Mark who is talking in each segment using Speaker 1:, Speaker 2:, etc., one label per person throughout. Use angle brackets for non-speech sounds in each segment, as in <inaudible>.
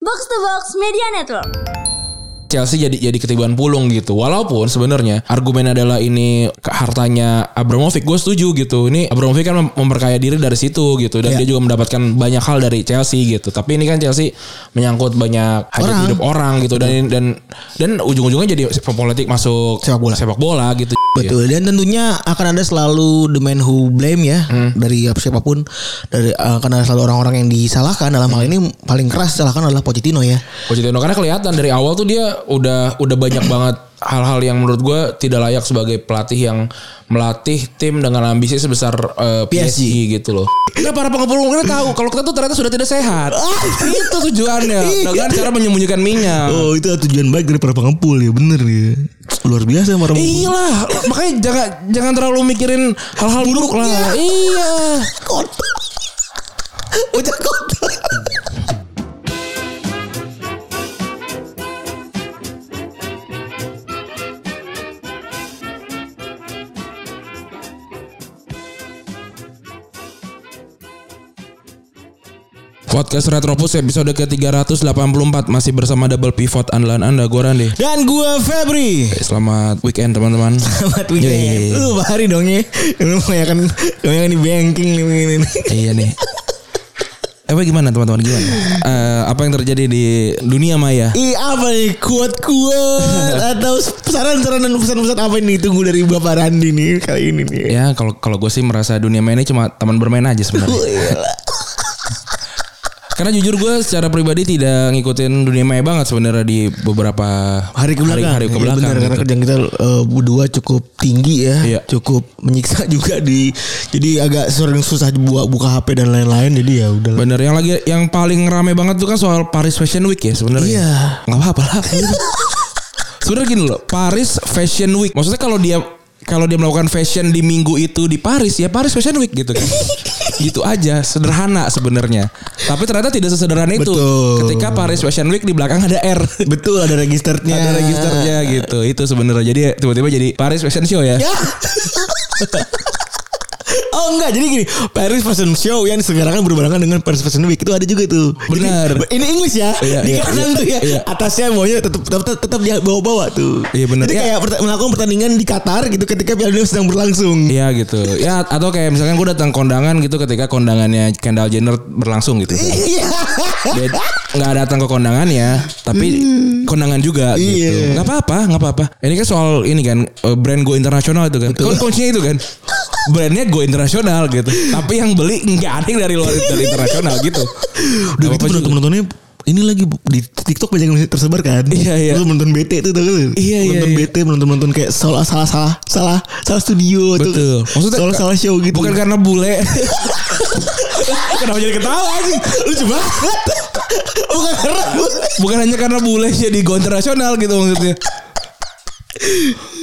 Speaker 1: Box to Box Media Network.
Speaker 2: Chelsea jadi jadi ketiban pulung gitu. Walaupun sebenarnya argumen adalah ini ke- hartanya Abramovich, gue setuju gitu. Ini Abramovich kan mem- memperkaya diri dari situ gitu dan
Speaker 3: Iya.
Speaker 2: dia juga mendapatkan banyak hal dari Chelsea gitu. Tapi ini kan Chelsea menyangkut banyak hajat
Speaker 3: Orang.
Speaker 2: hidup orang gitu dan dan dan ujung-ujungnya jadi politik masuk
Speaker 3: Sepak bola.
Speaker 2: gitu.
Speaker 3: Betul dan tentunya akan ada selalu the man who blame ya dari siapapun dari akan ada selalu orang-orang yang disalahkan dalam hal ini paling keras salahkan adalah Pochettino ya.
Speaker 2: Pochettino karena kelihatan dari awal tuh dia udah udah <clears throat> banyak banget hal-hal yang menurut gue tidak layak sebagai pelatih yang melatih tim dengan ambisi sebesar eh, PSG, gitu loh. Nah para pengepul kita tahu kalau kita tuh ternyata sudah tidak sehat. Ah, Iya. itu <laughs> tujuannya dengan cara menyembunyikan minyak.
Speaker 3: Oh itu tujuan baik dari para pengepul ya bener ya luar biasa para
Speaker 2: Iya lah, makanya jangan jangan terlalu mikirin hal-hal buruk lah. Iya.
Speaker 3: kota. Udah kota.
Speaker 2: Podcast Retropus episode ke-384 masih bersama double pivot andalan Anda gue Randy.
Speaker 3: Dan gua Febri.
Speaker 2: Selamat weekend <laughs> teman-teman.
Speaker 3: Selamat weekend.
Speaker 2: Yoi.
Speaker 3: Lu bahari dong ya. Lu kebanyakan kebanyakan di banking nih begini nih.
Speaker 2: Iya nih. Apa gimana teman-teman gimana? Eh, apa yang terjadi di dunia maya?
Speaker 3: Ih apa nih kuat-kuat atau saran-saran dan pesan-pesan apa yang ditunggu dari Bapak Randi nih kali ini nih.
Speaker 2: Ya kalau kalau gue sih merasa dunia maya ini cuma teman bermain aja sebenarnya. Karena jujur gue secara pribadi tidak ngikutin dunia maya banget sebenarnya di beberapa
Speaker 3: Hari ke belakang. Iya,
Speaker 2: Hari, hari kebelakang
Speaker 3: Benar, karena
Speaker 2: gitu.
Speaker 3: kerjaan kita eh, berdua cukup tinggi ya,
Speaker 2: Iya.
Speaker 3: cukup menyiksa <laughs> juga di jadi agak sering susah buka buka HP dan lain-lain jadi ya udah.
Speaker 2: Bener yang lagi yang paling rame banget tuh kan soal Paris Fashion Week ya sebenarnya.
Speaker 3: Iya.
Speaker 2: Nggak apa-apa lah. sebenarnya gini loh, Paris Fashion Week. Maksudnya kalau dia kalau dia melakukan fashion di minggu itu di Paris ya Paris Fashion Week gitu kan. gitu aja, sederhana sebenarnya. Tapi ternyata tidak sesederhana itu.
Speaker 3: Betul.
Speaker 2: Ketika Paris Fashion Week di belakang ada R.
Speaker 3: Iya, Betul ada registernya.
Speaker 2: ada registernya gitu. Itu sebenarnya. Jadi tiba-tiba jadi Paris Fashion Show ya.
Speaker 3: Ya. <laughs> Oh enggak, jadi gini Paris Fashion Show yang diselenggarakan berbarengan dengan Paris Fashion Week itu ada juga tuh. Jadi,
Speaker 2: Benar.
Speaker 3: <laughs> ini English ya,
Speaker 2: Iya,
Speaker 3: di
Speaker 2: iya,
Speaker 3: kanan
Speaker 2: iya,
Speaker 3: tuh ya.
Speaker 2: iya.
Speaker 3: Atasnya maunya tetap tetap, tetap dia bawa-bawa tuh.
Speaker 2: Iya, benar.
Speaker 3: Jadi
Speaker 2: Ya.
Speaker 3: kayak pert- melakukan pertandingan di Qatar gitu ketika Piala Dunia sedang berlangsung.
Speaker 2: Iya gitu. Ya atau kayak misalkan gue datang kondangan gitu ketika kondangannya Kendall Jenner berlangsung gitu.
Speaker 3: Iya.
Speaker 2: Dia nggak datang ke kondangannya, tapi kondangan juga gitu.
Speaker 3: Hmm. Iya.
Speaker 2: Nggak apa-apa, nggak apa-apa. Ini kan soal ini kan eh, brand go internasional itu kan. Kon kuncinya itu kan. Brandnya go internasional gitu. Tapi yang beli nggak ada yang dari luar dari internasional gitu.
Speaker 3: Udah
Speaker 2: Nggak
Speaker 3: gitu
Speaker 2: apa-apa juga.
Speaker 3: penonton-penontonnya ini lagi di TikTok banyak yang tersebar kan.
Speaker 2: Iya, iya.
Speaker 3: Lu menonton BT itu tuh
Speaker 2: Iya,
Speaker 3: kan.
Speaker 2: iya,
Speaker 3: Menonton
Speaker 2: iya.
Speaker 3: BT, menonton-menonton kayak salah salah salah salah salah studio
Speaker 2: Betul.
Speaker 3: tuh.
Speaker 2: Maksudnya
Speaker 3: salah salah show gitu.
Speaker 2: Bukan karena bule. <laughs> Kenapa jadi ketawa anjing? Lucu banget.
Speaker 3: bukan karena bu-
Speaker 2: Bukan hanya karena bule jadi go internasional gitu maksudnya.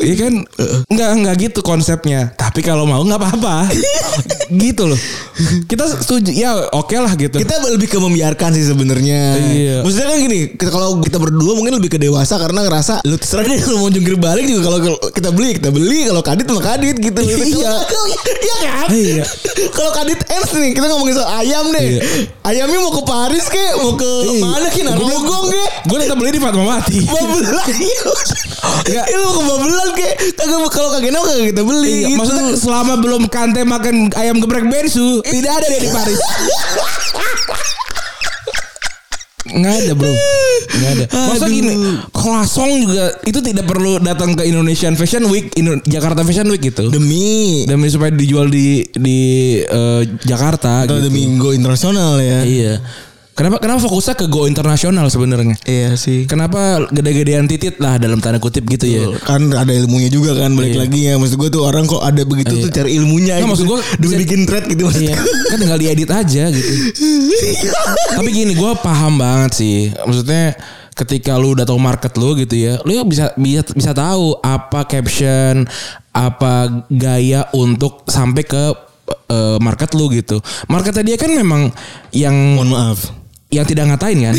Speaker 2: Iya kan? Enggak enggak gitu konsepnya. Tapi kalau mau nggak apa-apa. gitu loh. Kita setuju ya oke lah gitu.
Speaker 3: kita lebih ke membiarkan sih sebenarnya.
Speaker 2: Iya.
Speaker 3: Maksudnya kan gini, kita- kalau kita berdua mungkin lebih ke dewasa karena ngerasa lu terserah deh lu mau jungkir balik juga kalau kalau kita beli kita beli kalau kadit mah kadit gitu.
Speaker 2: Iya.
Speaker 3: Iya kan?
Speaker 2: Iya.
Speaker 3: kalau kadit ends nih kita ngomongin soal ayam deh.
Speaker 2: Iya.
Speaker 3: Ayamnya mau ke Paris kek, mau ke
Speaker 2: Iya.
Speaker 3: mana kek, Narogong kek.
Speaker 2: Gue tetap beli di Fatmawati.
Speaker 3: Babelan <laughs> iya.
Speaker 2: Enggak.
Speaker 3: Ini mau ke babelan kek. Kagak kalau kagak enak kagak kita beli
Speaker 2: Iya,
Speaker 3: gitu.
Speaker 2: Maksudnya selama belum kante makan ayam geprek bensu tidak ada dia di Paris. Nggak ada bro Nggak ada Maksudnya
Speaker 3: Aduh.
Speaker 2: gini Croissant juga Itu tidak perlu datang ke Indonesian Fashion Week Indo- Jakarta Fashion Week gitu
Speaker 3: demi
Speaker 2: Demi supaya dijual di di eh, Jakarta
Speaker 3: atau
Speaker 2: gitu.
Speaker 3: demi go internasional ya.
Speaker 2: Iya Kenapa kenapa fokusnya ke go internasional sebenarnya
Speaker 3: Iya sih.
Speaker 2: Kenapa gede-gedean titit lah dalam tanda kutip gitu ya
Speaker 3: kan ada ilmunya juga kan balik
Speaker 2: Iya.
Speaker 3: lagi ya maksud gue tuh orang kok ada begitu tuh cari ilmunya
Speaker 2: Nggak,
Speaker 3: gitu.
Speaker 2: maksud gua
Speaker 3: Demi
Speaker 2: bisa-
Speaker 3: bikin thread gitu maksud
Speaker 2: Iya, kan tinggal diedit aja gitu. Tapi gini, gue paham banget sih. Maksudnya ketika lu udah tahu market lu gitu ya, lu bisa bisa bisa tahu apa caption, apa gaya untuk sampai ke eh, market lu gitu. Marketnya dia kan memang yang
Speaker 3: mohon maaf
Speaker 2: yang tidak ngatain kan.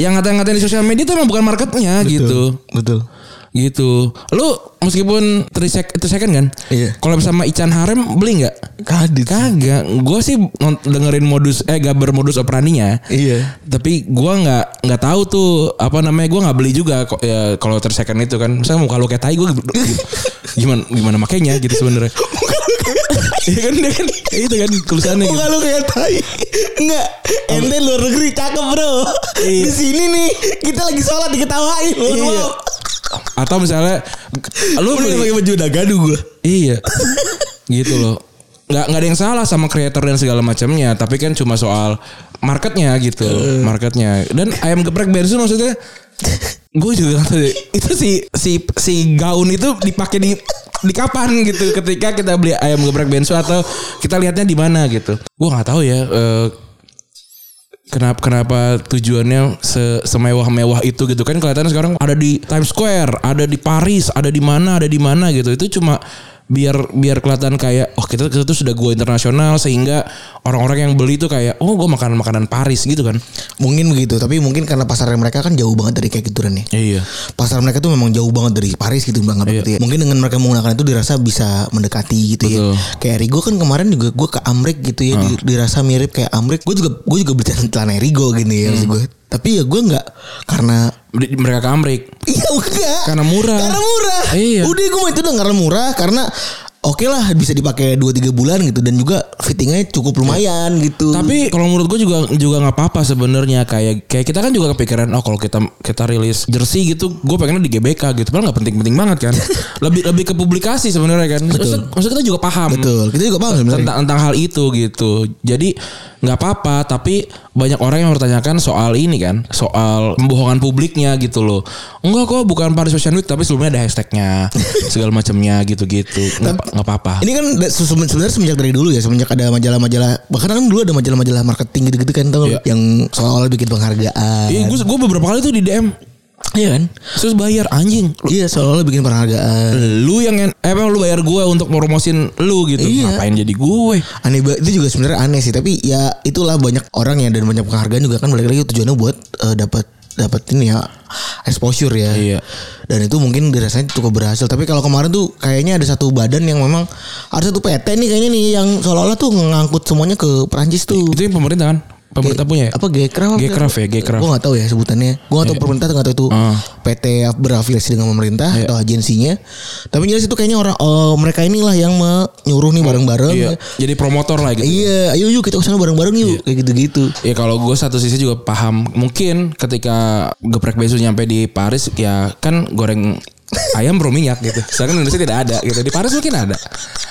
Speaker 2: yang ngata-ngatain di sosial media itu memang bukan marketnya gitu.
Speaker 3: betul
Speaker 2: gitu lu meskipun 3 sec- 3 second kan
Speaker 3: Iya.
Speaker 2: collab sama Ican Harem beli nggak
Speaker 3: Kadit.
Speaker 2: kagak gue sih ngon- dengerin modus eh gaber modus operandinya
Speaker 3: Iya.
Speaker 2: tapi gua nggak nggak tahu tuh apa namanya gua nggak beli juga kok ya kalau tersekan itu kan misalnya muka lu kayak tai gua gitu. gimana gimana makainya gitu sebenarnya Iya kan dia kan itu kan tulisannya gitu.
Speaker 3: Muka lu kayak tai. Enggak. Ente luar negeri cakep bro. Di sini nih kita lagi sholat diketawain. Lu
Speaker 2: Iya.
Speaker 3: mau?
Speaker 2: Atau misalnya lu
Speaker 3: Udah
Speaker 2: beli,
Speaker 3: pakai baju udah gaduh gue.
Speaker 2: iya gitu loh. Nggak nggak ada yang salah sama kreator dan segala macamnya, tapi kan cuma soal marketnya gitu, marketnya. Dan ayam geprek bensin maksudnya gue juga nggak tahu deh. itu si si si gaun itu dipakai di di kapan gitu ketika kita beli ayam geprek bensu atau kita lihatnya di mana gitu gue nggak tahu ya eh, kenapa kenapa tujuannya se- semewah-mewah itu gitu kan kelihatannya sekarang ada di Times Square ada di Paris ada di mana ada di mana gitu itu cuma biar biar kelihatan kayak oh kita kita tuh sudah gua internasional sehingga orang-orang yang beli tuh kayak oh gue makan makanan Paris gitu kan
Speaker 3: Mungkin begitu, tapi mungkin karena pasar mereka kan jauh banget dari kayak gitu nih.
Speaker 2: iya
Speaker 3: Pasar mereka tuh memang jauh banget dari Paris gitu bang. nggak berarti ya. Mungkin dengan mereka menggunakan itu dirasa bisa mendekati gitu
Speaker 2: Betul. Ah.
Speaker 3: ya. Kayak Rigo kan kemarin juga gue ke Amrik gitu ya, di- dirasa mirip kayak Amrik. Gue juga gue juga beli <laughs> celana Rigo gini ya maksud
Speaker 2: Hmm.
Speaker 3: gue. Tapi ya gue nggak karena
Speaker 2: Di- mereka ke Amrik
Speaker 3: Iya enggak.
Speaker 2: Karena murah.
Speaker 3: Karena murah.
Speaker 2: Iya.
Speaker 3: Udah gue mau itu udah karena murah karena oke lah bisa dipakai 2 3 bulan gitu dan juga fittingnya cukup lumayan gitu.
Speaker 2: Tapi kalau menurut gue juga juga nggak apa-apa sebenarnya kayak kayak kita kan juga kepikiran oh kalau kita kita rilis jersey gitu gue pengennya di GBK gitu padahal nggak penting-penting banget kan lebih lebih ke publikasi sebenarnya kan maksud, maksud kita juga paham
Speaker 3: betul. Kita juga paham sebenarnya.
Speaker 2: tentang tentang hal itu gitu jadi nggak apa-apa tapi banyak orang yang mempertanyakan soal ini kan soal pembohongan publiknya gitu loh enggak kok bukan Paris Fashion Week tapi sebelumnya ada hashtagnya
Speaker 3: <laughs>
Speaker 2: segala macamnya gitu-gitu nggak apa- nggak apa-apa
Speaker 3: Ini kan da- se- se- sebenarnya semenjak dari dulu ya, semenjak ada majalah-majalah, bahkan kan dulu ada majalah-majalah marketing gitu-gitu kan tau
Speaker 2: Iya.
Speaker 3: nggak? yang soal bikin penghargaan.
Speaker 2: Iya, gue beberapa kali tuh di DM
Speaker 3: Iya kan?
Speaker 2: terus bayar anjing
Speaker 3: Iya, soal bikin penghargaan.
Speaker 2: lu yang en- eh, emang lu bayar gue untuk promosin lu gitu
Speaker 3: Iya.
Speaker 2: ngapain jadi gue
Speaker 3: Aneh banget itu juga sebenarnya aneh sih, tapi ya itulah banyak orang ya dan banyak penghargaan juga kan balik lagi tujuannya buat eh, dapat dapetin ya exposure ya.
Speaker 2: Iya.
Speaker 3: Dan itu mungkin dirasanya cukup berhasil. Tapi kalau kemarin tuh kayaknya ada satu badan yang memang ada satu PT nih kayaknya nih yang seolah-olah tuh ngangkut semuanya ke Perancis tuh.
Speaker 2: itu yang pemerintah kan pemerintah punya ya
Speaker 3: Iya. Apa Gekraf? apa?
Speaker 2: Gekraf ya, Gekraf.
Speaker 3: Gua nggak tahu ya sebutannya. Gua nggak tahu pemerintah nggak tahu itu
Speaker 2: Ah. Iya.
Speaker 3: PT berafiliasi dengan pemerintah atau agensinya. Tapi jelas itu kayaknya orang eh, mereka inilah yang menyuruh nih bareng-bareng.
Speaker 2: iya
Speaker 3: ya.
Speaker 2: jadi promotor lah gitu
Speaker 3: Iya, ayo yuk kita kesana bareng-bareng yuk kayak gitu-gitu.
Speaker 2: Ya kalau gue satu sisi juga paham Mungkin ketika geprek besu nyampe di Paris Ya kan goreng ayam bro minyak gitu Sedangkan di Indonesia tidak ada gitu Di Paris mungkin ada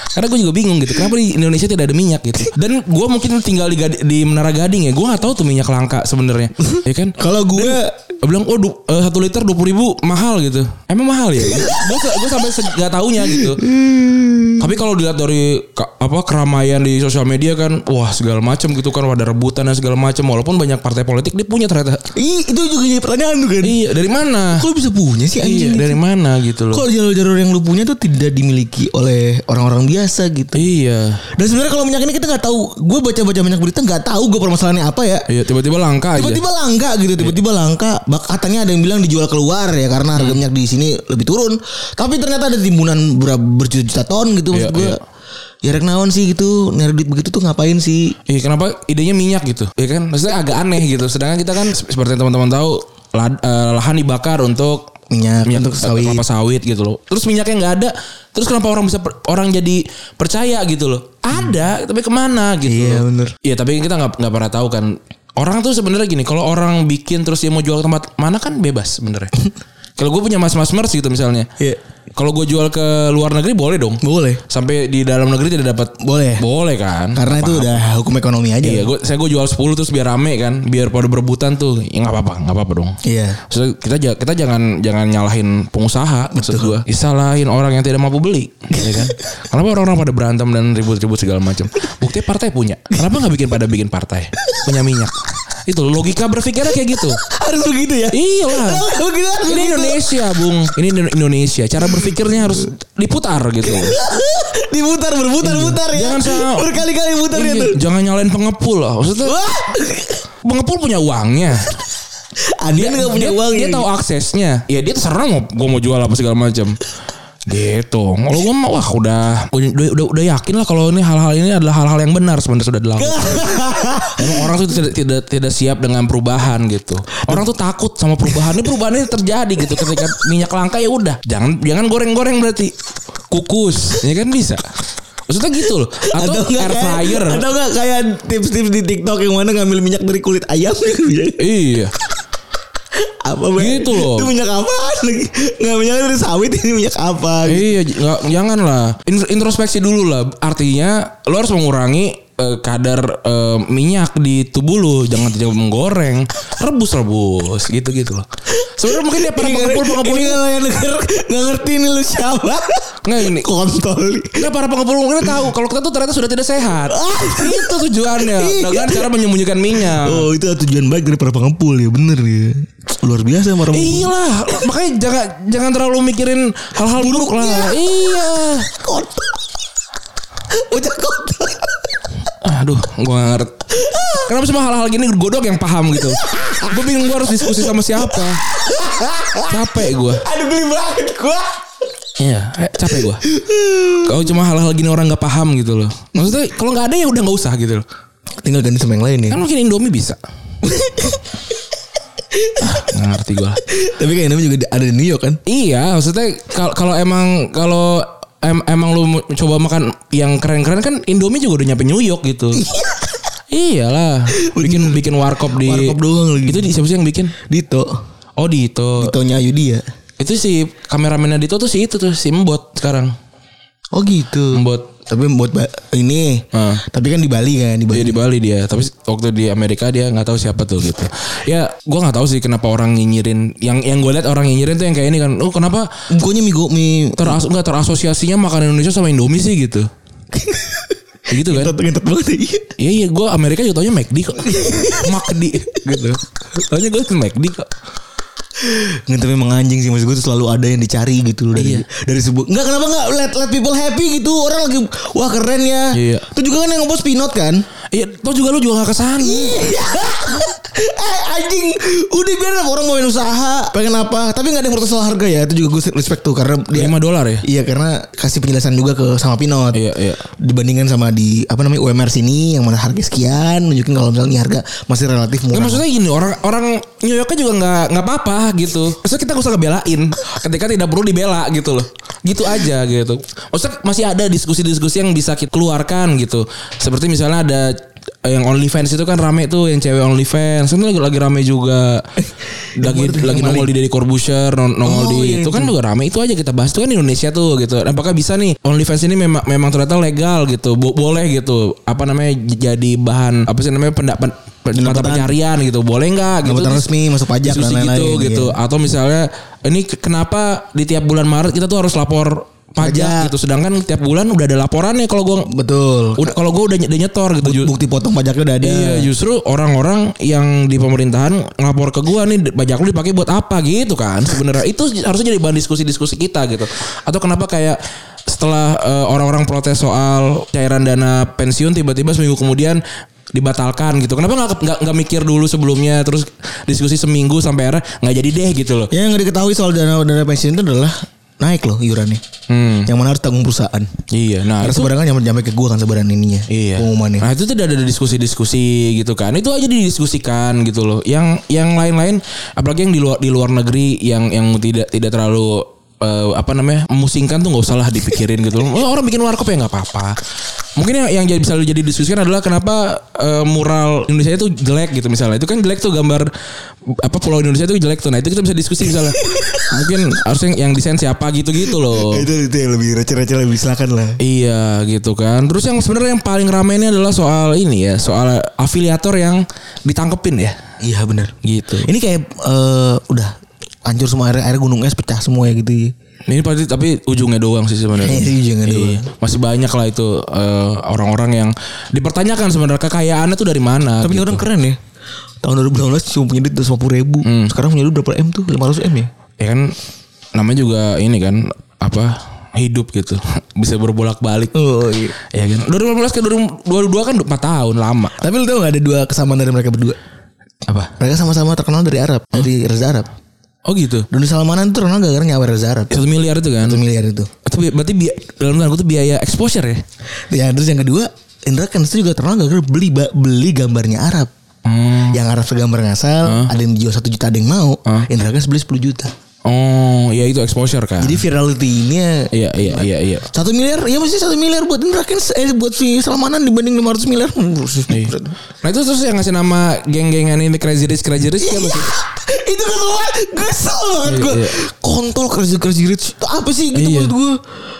Speaker 2: Karena gue juga bingung gitu Kenapa di Indonesia tidak ada minyak gitu Dan gue mungkin tinggal di, Gad- di Menara Gading ya Gue gak tahu tuh minyak langka sebenarnya Ya kan
Speaker 3: Kalau gue-
Speaker 2: Dan bilang oh du- eh, satu liter 20 ribu mahal gitu Emang mahal ya Gue gue sampai se- gak taunya gitu
Speaker 3: Hmm.
Speaker 2: tapi kalau dilihat dari ka- apa keramaian di sosial media kan, wah segala macam gitu kan, ada rebutan dan segala macam. Walaupun banyak partai politik dia punya ternyata.
Speaker 3: Ih, itu juga jadi pertanyaan tuh kan.
Speaker 2: Iya, dari mana?
Speaker 3: Kok lu bisa punya sih
Speaker 2: Iya,
Speaker 3: anjing?
Speaker 2: dari mana gitu loh.
Speaker 3: Kok jalur-jalur yang lu punya tuh tidak dimiliki oleh orang-orang biasa gitu.
Speaker 2: Iya.
Speaker 3: Dan sebenarnya kalau minyak ini kita nggak tahu. Gue baca-baca banyak berita nggak tahu gue permasalahannya apa ya.
Speaker 2: Iya, tiba-tiba langka aja.
Speaker 3: Tiba-tiba langka gitu, tiba-tiba langka. Bak katanya ada yang bilang dijual keluar ya karena
Speaker 2: Iya.
Speaker 3: harga minyak di sini lebih turun. Tapi ternyata ada timbunan berapa berjuta-juta ton gitu maksud
Speaker 2: Iya,
Speaker 3: gue.
Speaker 2: iya.
Speaker 3: Ya rek naon sih gitu, nyari duit begitu tuh ngapain sih?
Speaker 2: Iya, kenapa idenya minyak gitu? Iya kan? Maksudnya agak aneh gitu. Sedangkan kita kan se- seperti yang teman-teman tahu lad- eh, lahan dibakar untuk
Speaker 3: Minyak,
Speaker 2: minyak
Speaker 3: untuk sawit.
Speaker 2: Iya, kelapa sawit gitu loh. Terus minyaknya nggak ada. Terus kenapa orang bisa per- orang jadi percaya gitu loh? Ada, tapi kemana gitu?
Speaker 3: Hmm. Iya,
Speaker 2: loh.
Speaker 3: bener.
Speaker 2: Iya, tapi kita nggak nggak pernah tahu kan. Orang tuh sebenarnya gini, kalau orang bikin terus dia mau jual ke tempat mana kan bebas
Speaker 3: <laughs>
Speaker 2: sebenarnya. kalau gue punya mas-mas merch gitu misalnya.
Speaker 3: Iya.
Speaker 2: Kalau gue jual ke luar negeri boleh dong.
Speaker 3: Boleh.
Speaker 2: Sampai di dalam negeri tidak dapat
Speaker 3: Boleh.
Speaker 2: Boleh kan?
Speaker 3: Eh, Karena
Speaker 2: Apa-
Speaker 3: itu udah hukum ekonomi aja.
Speaker 2: Iya, gue saya gue jual 10 terus biar rame kan, biar pada berebutan tuh. Ya nggak apa-apa, nggak apa-apa dong.
Speaker 3: Iya.
Speaker 2: Maksudnya kita ja- kita jangan jangan nyalahin pengusaha maksud gue. Disalahin orang yang tidak mampu beli, ya kan? Kenapa orang-orang pada berantem dan ribut-ribut segala macam? Bukti partai punya. Kenapa nggak bikin pada bikin partai? Punya minyak. Itu logika berpikirnya kayak gitu.
Speaker 3: Harus begitu ya.
Speaker 2: Iya lah.
Speaker 3: Begitu harus
Speaker 2: Ini
Speaker 3: begitu.
Speaker 2: Indonesia, Bung. Ini Indo- Indonesia. Cara berpikirnya harus diputar gitu.
Speaker 3: <laughs> Diputar berputar putar ya.
Speaker 2: Iya. Jangan salah.
Speaker 3: Berkali-kali putar
Speaker 2: Iya,
Speaker 3: ya tuh.
Speaker 2: jangan nyalain pengepul lah. Maksudnya
Speaker 3: Wah.
Speaker 2: pengepul punya uangnya.
Speaker 3: Anda nggak punya
Speaker 2: dia,
Speaker 3: uang
Speaker 2: dia
Speaker 3: ya,
Speaker 2: tahu
Speaker 3: <laughs> gitu.
Speaker 2: aksesnya ya dia terserah mau gue mau jual apa segala macam gitu kalau gue mah wah udah udah udah, udah yakin lah kalau ini hal-hal ini adalah hal-hal yang benar sebenarnya sudah dilakukan Emang orang tuh tidak, tidak tidak siap dengan perubahan gitu orang tuh takut sama perubahan ini perubahan ini terjadi gitu ketika minyak langka ya udah jangan jangan goreng-goreng berarti kukus ya kan bisa maksudnya gitu loh atau, kan?
Speaker 3: nggak
Speaker 2: air
Speaker 3: kayak-
Speaker 2: fryer
Speaker 3: atau nggak kayak tips-tips di TikTok yang mana ngambil minyak dari kulit ayam gitu.
Speaker 2: iya
Speaker 3: apa Bang?
Speaker 2: Gitu loh.
Speaker 3: itu minyak apaan lagi nggak minyak dari sawit ini minyak apa gitu.
Speaker 2: Iya, j- nggak jangan lah. In- Introspeksi dulu lah. Artinya lo harus mengurangi eh, kadar eh, minyak di tubuh lo. Jangan tiba
Speaker 3: <laughs>
Speaker 2: menggoreng. Rebus rebus gitu gitu loh. Sebenarnya mungkin dia para
Speaker 3: ini
Speaker 2: pengepul
Speaker 3: kan-
Speaker 2: pengepul
Speaker 3: ini
Speaker 2: ini
Speaker 3: kan yang denger nggak ngerti nih lu siapa <laughs>
Speaker 2: nggak ini.
Speaker 3: kontol
Speaker 2: Nah para pengepul mungkin tahu kalau kita tuh ternyata sudah tidak sehat.
Speaker 3: Oh.
Speaker 2: Itu tujuannya. Dengan cara menyembunyikan minyak.
Speaker 3: Iya. oh itu tujuan baik dari para pengepul ya bener ya luar biasa para pengepul
Speaker 2: Iya lah, makanya jangan jangan terlalu mikirin hal-hal buruk lah. Iya.
Speaker 3: kontol bocah kontol
Speaker 2: Aduh, gue gak ngerti. Kenapa semua hal-hal gini godok yang paham gitu? Gue bingung gue harus diskusi sama siapa. Capek gue.
Speaker 3: aduh geli banget gua
Speaker 2: Iya, eh, capek gue. Kalau cuma hal-hal gini orang nggak paham gitu loh. Maksudnya kalau nggak ada ya udah nggak usah gitu loh.
Speaker 3: tinggal ganti sama yang lain ya
Speaker 2: Kan mungkin Indomie bisa. Ah, gak ngerti gue.
Speaker 3: tapi kayak namanya juga ada di New York kan
Speaker 2: Iya, maksudnya kalau kalau emang kalau em- emang lu mau coba makan yang keren-keren kan Indomie juga udah nyampe New York gitu.
Speaker 3: Iya. <laughs>
Speaker 2: Iyalah, bikin bikin warkop di
Speaker 3: Warkop doang lagi.
Speaker 2: Itu di, siapa sih yang bikin?
Speaker 3: Dito
Speaker 2: Oh Dito.
Speaker 3: Ditonya Ayu dia
Speaker 2: Itu si kameramennya Dito tuh si itu tuh si Mbot sekarang.
Speaker 3: oh gitu
Speaker 2: Mbot.
Speaker 3: tapi buat ba- ini
Speaker 2: Ah. Iya,
Speaker 3: tapi kan di Bali kan di Bali
Speaker 2: Dia di Bali dia, tapi waktu di Amerika dia nggak tahu siapa tuh gitu. Ya, gua nggak tahu sih kenapa orang nyinyirin. Yang yang gue lihat orang nyinyirin tuh yang kayak ini kan. Oh, kenapa
Speaker 3: Pokoknya mie go- mie
Speaker 2: teras nggak terasosiasinya makanan Indonesia sama Indomie sih gitu. Ya gitu kan.
Speaker 3: ngentot banget ya.
Speaker 2: Iya iya gue Amerika juga taunya McD kok McD gitu Taunya gue McD kok
Speaker 3: Ngentot memang anjing sih maksud gue tuh selalu ada yang dicari gitu loh dari
Speaker 2: Iya.
Speaker 3: dari sebuah Enggak kenapa enggak let let people happy gitu. Orang lagi wah keren ya.
Speaker 2: Iya.
Speaker 3: Itu juga kan yang ngepost Pinot kan?
Speaker 2: Iya tau juga lu juga gak kesana
Speaker 3: eh anjing udah biar lah orang mau main usaha pengen apa tapi nggak ada yang protes soal harga ya itu juga gue respect tuh karena dia
Speaker 2: 5 dolar ya
Speaker 3: Iya karena kasih penjelasan juga ke sama Pinot.
Speaker 2: Iya, iya.
Speaker 3: Dibandingkan sama di apa namanya UMR sini yang mana harga sekian nunjukin kalau misalnya ini harga masih relatif
Speaker 2: Nggak,
Speaker 3: murah.
Speaker 2: Eh, maksudnya gini orang orang New Yorknya juga nggak nggak apa-apa gitu. Maksudnya kita gak usah <laughs> ngebelain ketika tidak perlu dibela gitu loh. Gitu aja gitu. Maksudnya masih ada diskusi-diskusi yang bisa kita keluarkan gitu. Seperti misalnya ada eh, yang OnlyFans itu kan rame tuh yang cewek OnlyFans itu lagi, lagi rame <laughs> juga lagi lagi nongol di Deddy Corbuzier nong- nongol
Speaker 3: Oh,
Speaker 2: di
Speaker 3: iya,
Speaker 2: itu kan juga rame itu aja kita bahas itu kan di Indonesia tuh gitu apakah bisa nih OnlyFans ini memang memang ternyata legal gitu Bo- boleh gitu apa namanya j- jadi bahan apa sih namanya pendak pen- mata pencarian gitu boleh nggak gitu
Speaker 3: Pendapatan resmi, masuk pajak,
Speaker 2: diskusi
Speaker 3: dan lain-lain,
Speaker 2: gitu
Speaker 3: iya.
Speaker 2: gitu atau misalnya ini ke- kenapa di tiap bulan Maret kita tuh harus lapor pajak,
Speaker 3: Pajak.
Speaker 2: gitu sedangkan tiap bulan udah ada laporannya kalau gua
Speaker 3: Betul.
Speaker 2: udah- kalau gua udah, ny- udah nyetor gitu Ju-
Speaker 3: Bukti potong pajaknya udah ada.
Speaker 2: Iya justru orang-orang yang di pemerintahan ngelapor ke gua nih pajak lu dipakai buat apa gitu kan sebenarnya itu harusnya jadi bahan diskusi-diskusi kita gitu atau kenapa kayak setelah eh, orang-orang protes soal cairan dana pensiun tiba-tiba seminggu kemudian dibatalkan gitu kenapa nggak nggak nggak mikir dulu sebelumnya terus diskusi seminggu sampai akhirnya nggak jadi deh gitu loh
Speaker 3: Ya, Yang nggak diketahui soal dana dana pensiun itu adalah naik loh iurannya.
Speaker 2: Hmm.
Speaker 3: Yang mana harus tanggung perusahaan.
Speaker 2: iya nah
Speaker 3: Karena
Speaker 2: itu-
Speaker 3: sebenarnya nyampe nyampe ke gua kan sebaran ininya.
Speaker 2: Iya.
Speaker 3: Pengumumannya.
Speaker 2: Nah itu tidak ada diskusi-diskusi gitu kan. Itu aja didiskusikan gitu loh. Yang yang lain-lain, apalagi yang di luar di luar negeri yang yang tidak tidak terlalu eh, apa namanya memusingkan tuh nggak usah lah dipikirin gitu loh. Oh, Orang bikin warkop ya nggak apa-apa. Mungkin yang, yang jadi, bisa jadi diskusikan adalah kenapa eh, mural Indonesia itu jelek gitu misalnya. Itu kan jelek tuh gambar apa pulau Indonesia itu jelek tuh. Nah itu kita bisa diskusi misalnya. Mungkin harusnya yang desain siapa gitu-gitu loh.
Speaker 3: Itu itu yang lebih receh-receh lebih silakan lah.
Speaker 2: Iya gitu kan. Terus yang sebenarnya yang paling rame ini adalah soal ini ya, soal afiliator yang ditangkepin ya.
Speaker 3: Iya benar.
Speaker 2: Gitu.
Speaker 3: Ini kayak eh, udah hancur semua air air gunung es pecah semua ya gitu.
Speaker 2: Ini pasti tapi ujungnya doang sih sebenarnya.
Speaker 3: Eh, ujungnya doang.
Speaker 2: Iya. Masih banyak lah itu eh, orang-orang yang dipertanyakan sebenarnya kekayaannya tuh dari mana.
Speaker 3: Tapi ini
Speaker 2: gitu.
Speaker 3: orang keren ya. Hmm. Tahun 2018 cuma punya duit 250 ribu. Sekarang punya duit berapa M tuh? 500 M ya?
Speaker 2: ya kan namanya juga ini kan apa hidup gitu <laughs> bisa berbolak-balik.
Speaker 3: Oh iya.
Speaker 2: Ya kan. 2018 ke 2022 kan 4 tahun lama.
Speaker 3: Tapi lu tau gak ada dua kesamaan dari mereka berdua?
Speaker 2: Apa?
Speaker 3: Mereka sama-sama terkenal dari Arab, dari Reza Arab.
Speaker 2: Oh gitu.
Speaker 3: Doni Salmanan itu terkenal gara-gara nyawer Reza Arab.
Speaker 2: Satu miliar itu kan?
Speaker 3: Satu miliar itu.
Speaker 2: Itu bi- berarti bi- dalam tanda kutip biaya exposure ya?
Speaker 3: Ya terus yang kedua Indra Kens itu juga terkenal gara-gara beli ba- beli gambarnya Arab.
Speaker 2: Hmm.
Speaker 3: Yang Arab segambar ngasal, ada yang dijual 1 juta, ada yang mau. Indra Kens beli 10 juta.
Speaker 2: Oh, ya itu exposure kan.
Speaker 3: Jadi viralitinya
Speaker 2: iya iya iya iya.
Speaker 3: satu miliar, ya mesti satu miliar buat Indra Kens, eh buat si Salmanan dibanding 500 miliar.
Speaker 2: Iya. Nah itu terus yang ngasih nama geng-gengan ini Crazy Rich Crazy Rich siapa sih?
Speaker 3: Iya. itu kesel kesel banget gue
Speaker 2: Iya, iya.
Speaker 3: kontol kerja kerja rich Itu apa sih gitu
Speaker 2: Iya.
Speaker 3: buat gue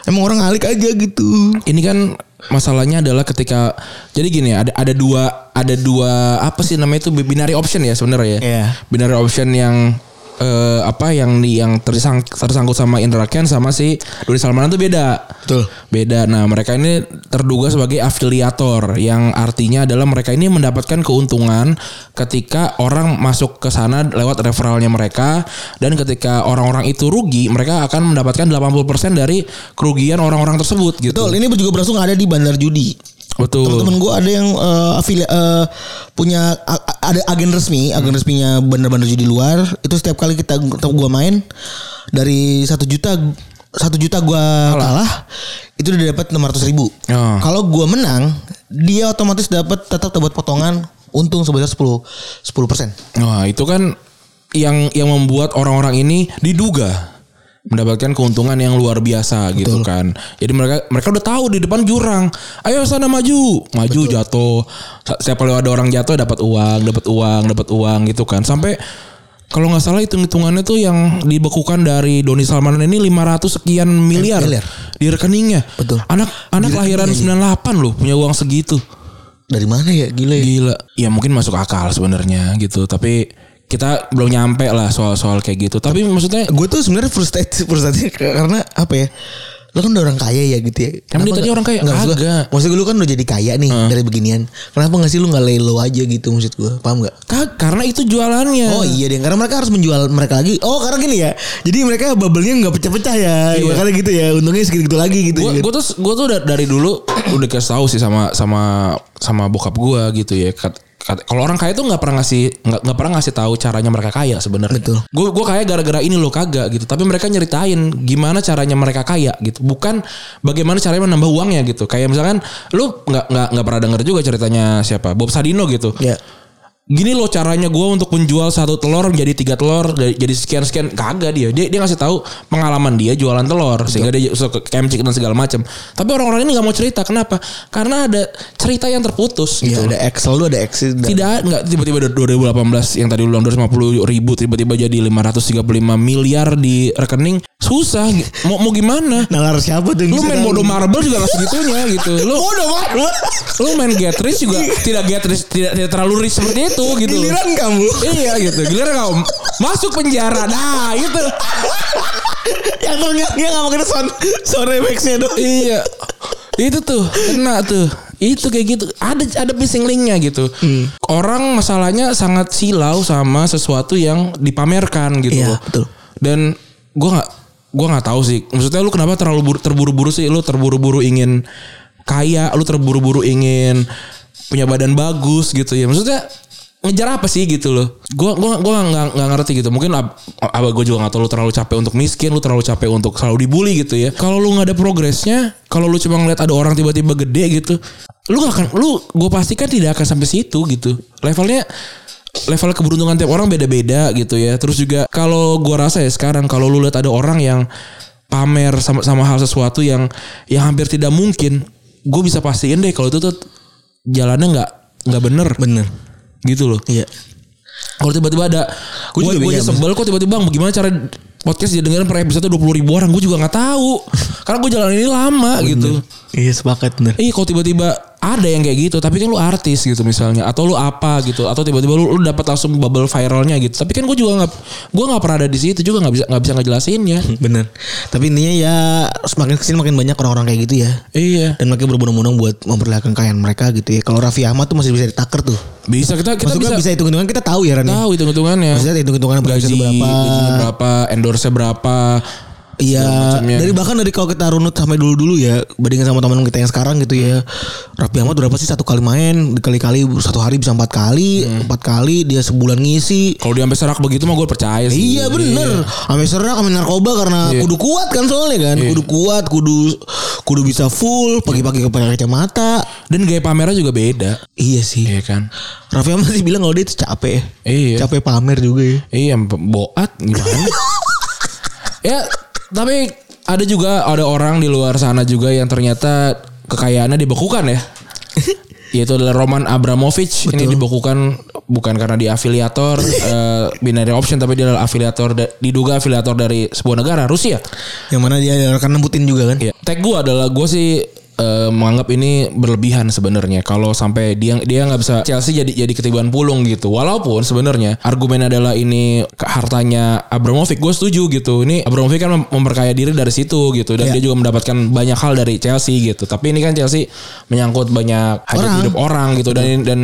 Speaker 3: emang orang alik aja gitu
Speaker 2: Ini kan masalahnya adalah ketika jadi gini ya, ada ada dua ada dua apa sih namanya itu binary option ya sebenarnya ya.
Speaker 3: Iya.
Speaker 2: Binary option yang eh, apa yang di- yang tersang, tersangkut sama Indra Kents sama si Doni Salmanan tuh beda.
Speaker 3: Betul.
Speaker 2: Beda. Nah, mereka ini terduga sebagai afiliator yang artinya adalah mereka ini mendapatkan keuntungan ketika orang masuk ke sana lewat referralnya mereka dan ketika orang-orang itu rugi, mereka akan mendapatkan 80% dari kerugian orang-orang tersebut gitu.
Speaker 3: betul ini juga berlangsung ada di bandar judi
Speaker 2: Betul.
Speaker 3: teman-teman gue ada yang eh, afili- eh, punya a- a- ada agen resmi agen resminya bandar-bandar judi luar itu setiap kali kita gue main dari satu juta satu juta gue kalah itu udah dapat enam ratus ribu
Speaker 2: Oh.
Speaker 3: kalau gue menang dia otomatis dapat tetap dapat potongan untung sebesar 10 10 persen
Speaker 2: Wah, itu kan yang yang membuat orang-orang ini diduga mendapatkan keuntungan yang luar biasa gitu kan. Jadi mereka mereka udah tahu di depan jurang. Ayo sana maju. Maju jatuh. Sa- Setiap kali ada orang jatuh dapat uang, dapat uang, dapat uang gitu kan. Sampai kalau nggak salah hitung-hitungannya tuh yang dibekukan dari Doni Salmanan ini 500 sekian miliar,
Speaker 3: Miliar.
Speaker 2: di rekeningnya.
Speaker 3: Betul.
Speaker 2: Anak anak
Speaker 3: Di
Speaker 2: lahiran 98 loh punya uang segitu.
Speaker 3: dari mana ya gila ya?
Speaker 2: Gila. Ya mungkin masuk akal sebenarnya gitu, tapi kita belum nyampe lah soal-soal kayak gitu. Tapi maksudnya
Speaker 3: gue tuh sebenarnya frustrated frustrated <laughs> karena apa ya lo kan udah orang kaya ya gitu ya
Speaker 2: Emang dia
Speaker 3: Kenapa
Speaker 2: tadi
Speaker 3: nggak-
Speaker 2: orang kaya?
Speaker 3: nggak, maksud gue
Speaker 2: Kagak.
Speaker 3: maksud gue lu kan udah jadi kaya nih dari beginian kenapa nggak sih lu nggak lay low aja gitu maksud gue paham nggak
Speaker 2: ka- karena itu jualannya.
Speaker 3: Oh iya deh, karena mereka harus menjual mereka lagi. Oh karena gini ya, jadi mereka bubble-nya nggak pecah-pecah ya, makanya gitu ya. Untungnya segitu gitu lagi gitu.
Speaker 2: Gue
Speaker 3: ya.
Speaker 2: gue tuh gue tuh da- dari dulu udah kasih tahu sih sama sama sama bokap gue gitu ya. Kat- kat- Kalau orang kaya tuh nggak pernah ngasih nggak nggak pernah ngasih tahu caranya mereka kaya sebenarnya.
Speaker 3: Betul.
Speaker 2: Gue gue kaya gara-gara ini loh kagak gitu. Tapi mereka nyeritain gimana caranya mereka kaya gitu. Bukan bagaimana caranya menambah uangnya gitu. Kayak misalkan lu nggak nggak nggak pernah denger juga ceritanya siapa Bob Sadino gitu.
Speaker 3: Ya.
Speaker 2: gini loh caranya gue untuk menjual satu telur menjadi tiga telur dari- jadi sekian sekian kagak dia dia dia ngasih tahu pengalaman dia jualan telur sehingga dia suka ke camp chicken dan segala macam tapi orang-orang ini nggak mau cerita kenapa karena ada cerita yang terputus
Speaker 3: Iya
Speaker 2: gitu
Speaker 3: ada X selalu ada X dan
Speaker 2: tidak nggak tiba-tiba dari 2018 yang tadi ulang 250 ribu tiba-tiba jadi 535 miliar di rekening susah mau mau gimana
Speaker 3: nalar siapa tuh? yang
Speaker 2: lu
Speaker 3: bisa
Speaker 2: main
Speaker 3: tahu?
Speaker 2: bodoh marble juga nggak segitunya
Speaker 3: <laughs>
Speaker 2: gitu lu
Speaker 3: Bodoh banget.
Speaker 2: lu main get rich juga tidak get rich tidak, tidak terlalu rich seperti itu gitu loh.
Speaker 3: Giliran kamu. <laughs>
Speaker 2: Iya gitu. Giliran kau masuk penjara. Nah, itu.
Speaker 3: Yang ternyata dia Ya, nggak makan sound sound effects-nya doang.
Speaker 2: Iya. Itu tuh kena tuh. Itu kayak gitu. Ada ada missing linknya gitu. Orang masalahnya sangat silau sama sesuatu yang dipamerkan gitu
Speaker 3: Iya,
Speaker 2: loh.
Speaker 3: betul.
Speaker 2: Dan gua nggak gua nggak tahu sih. Maksudnya lu kenapa terlalu buru- terburu-buru sih? Lu terburu-buru ingin kaya, lu terburu-buru ingin punya badan bagus gitu ya. Maksudnya ngejar apa sih gitu loh? Gua gua gua nggak nggak ngerti gitu. Mungkin ab, abah gua juga nggak tahu lu terlalu capek untuk miskin, lu terlalu capek untuk selalu dibully gitu ya. Kalau lu nggak ada progresnya, kalau lu cuma ngeliat ada orang tiba-tiba gede gitu, lu gak akan lu gua pastikan tidak akan sampai situ gitu. Levelnya level keberuntungan tiap orang beda-beda gitu ya. Terus juga kalau gua rasa ya sekarang kalau lu lihat ada orang yang pamer sama sama hal sesuatu yang yang hampir tidak mungkin, gue bisa pastiin deh kalau itu tuh jalannya nggak nggak bener.
Speaker 3: Bener.
Speaker 2: Gitu loh.
Speaker 3: Iya.
Speaker 2: Kalau tiba-tiba ada
Speaker 3: Gua
Speaker 2: gue
Speaker 3: juga
Speaker 2: gue
Speaker 3: bingung.
Speaker 2: sebel kok tiba-tiba "Bang, gimana cara podcast didengarin per episode 20 ribu orang gue juga nggak tahu karena gue jalan ini lama gitu
Speaker 3: Iya sepakat bener.
Speaker 2: Iya kalau tiba-tiba ada yang kayak gitu tapi kan lu artis gitu misalnya atau lu apa gitu atau tiba-tiba lu, lu dapat langsung bubble viralnya gitu tapi kan gue juga nggak gue nggak pernah ada di situ juga nggak bisa nggak bisa ngejelasinnya
Speaker 3: <laughs> Bener. Tapi intinya ya semakin kesini makin banyak orang-orang kayak gitu ya.
Speaker 2: iya
Speaker 3: Dan mereka berbondong-bondong buat memperlihatkan kekayaan mereka gitu ya. Kalau Raffi Ahmad tuh masih bisa ditaker tuh.
Speaker 2: bisa kita kita
Speaker 3: Maksudnya
Speaker 2: bisa, Nah,
Speaker 3: bisa hitung-hitungan kita tahu ya Ran. ya.
Speaker 2: tahu hitung hitungannya
Speaker 3: Maksudnya hitung-hitungan per
Speaker 2: gaji
Speaker 3: episode berapa.
Speaker 2: gajinya berapa endorse berapa
Speaker 3: Iya,
Speaker 2: macamnya.
Speaker 3: dari bahkan dari kalau kita runut sampai dulu-dulu ya, bandingin sama teman kita yang sekarang gitu ya. Raffi Ahmad berapa sih satu kali main, dikali-kali satu hari bisa empat kali,
Speaker 2: Hmm.
Speaker 3: empat kali dia sebulan ngisi.
Speaker 2: Kalau dia sampai serak begitu mah gue percaya sih.
Speaker 3: Iya bener Sampai serak Sampai narkoba Karena
Speaker 2: Iya.
Speaker 3: kudu kuat kan soalnya kan Kudu kuat Kudu Kudu bisa full Pagi-pagi ke kacamata
Speaker 2: Dan gaya pamernya juga beda.
Speaker 3: Iya sih
Speaker 2: Iya kan.
Speaker 3: Raffi Ahmad sih bilang Kalau dia itu capek
Speaker 2: Iya.
Speaker 3: Capek pamer juga ya
Speaker 2: Iya, sampai boat gimana? ya, tapi ada juga ada orang di luar sana juga yang ternyata kekayaannya dibekukan ya. Yaitu adalah Roman Abramovich ini dibekukan bukan karena dia afiliator eh, binary option tapi dia adalah afiliator da- diduga afiliator dari sebuah negara Rusia.
Speaker 3: Yang mana dia Kan nembutin juga kan
Speaker 2: Ya. Tag gue adalah gue sih eh, menganggap ini berlebihan sebenarnya kalau sampai dia dia nggak bisa Chelsea jadi jadi ketiban pulung gitu walaupun sebenarnya argumen adalah ini ke- hartanya Abramovich gue setuju gitu ini Abramovich kan mem- memperkaya diri dari situ gitu dan
Speaker 3: Ya.
Speaker 2: dia juga mendapatkan banyak hal dari Chelsea gitu tapi ini kan Chelsea menyangkut banyak hajat
Speaker 3: Orang.
Speaker 2: hidup orang gitu dan dan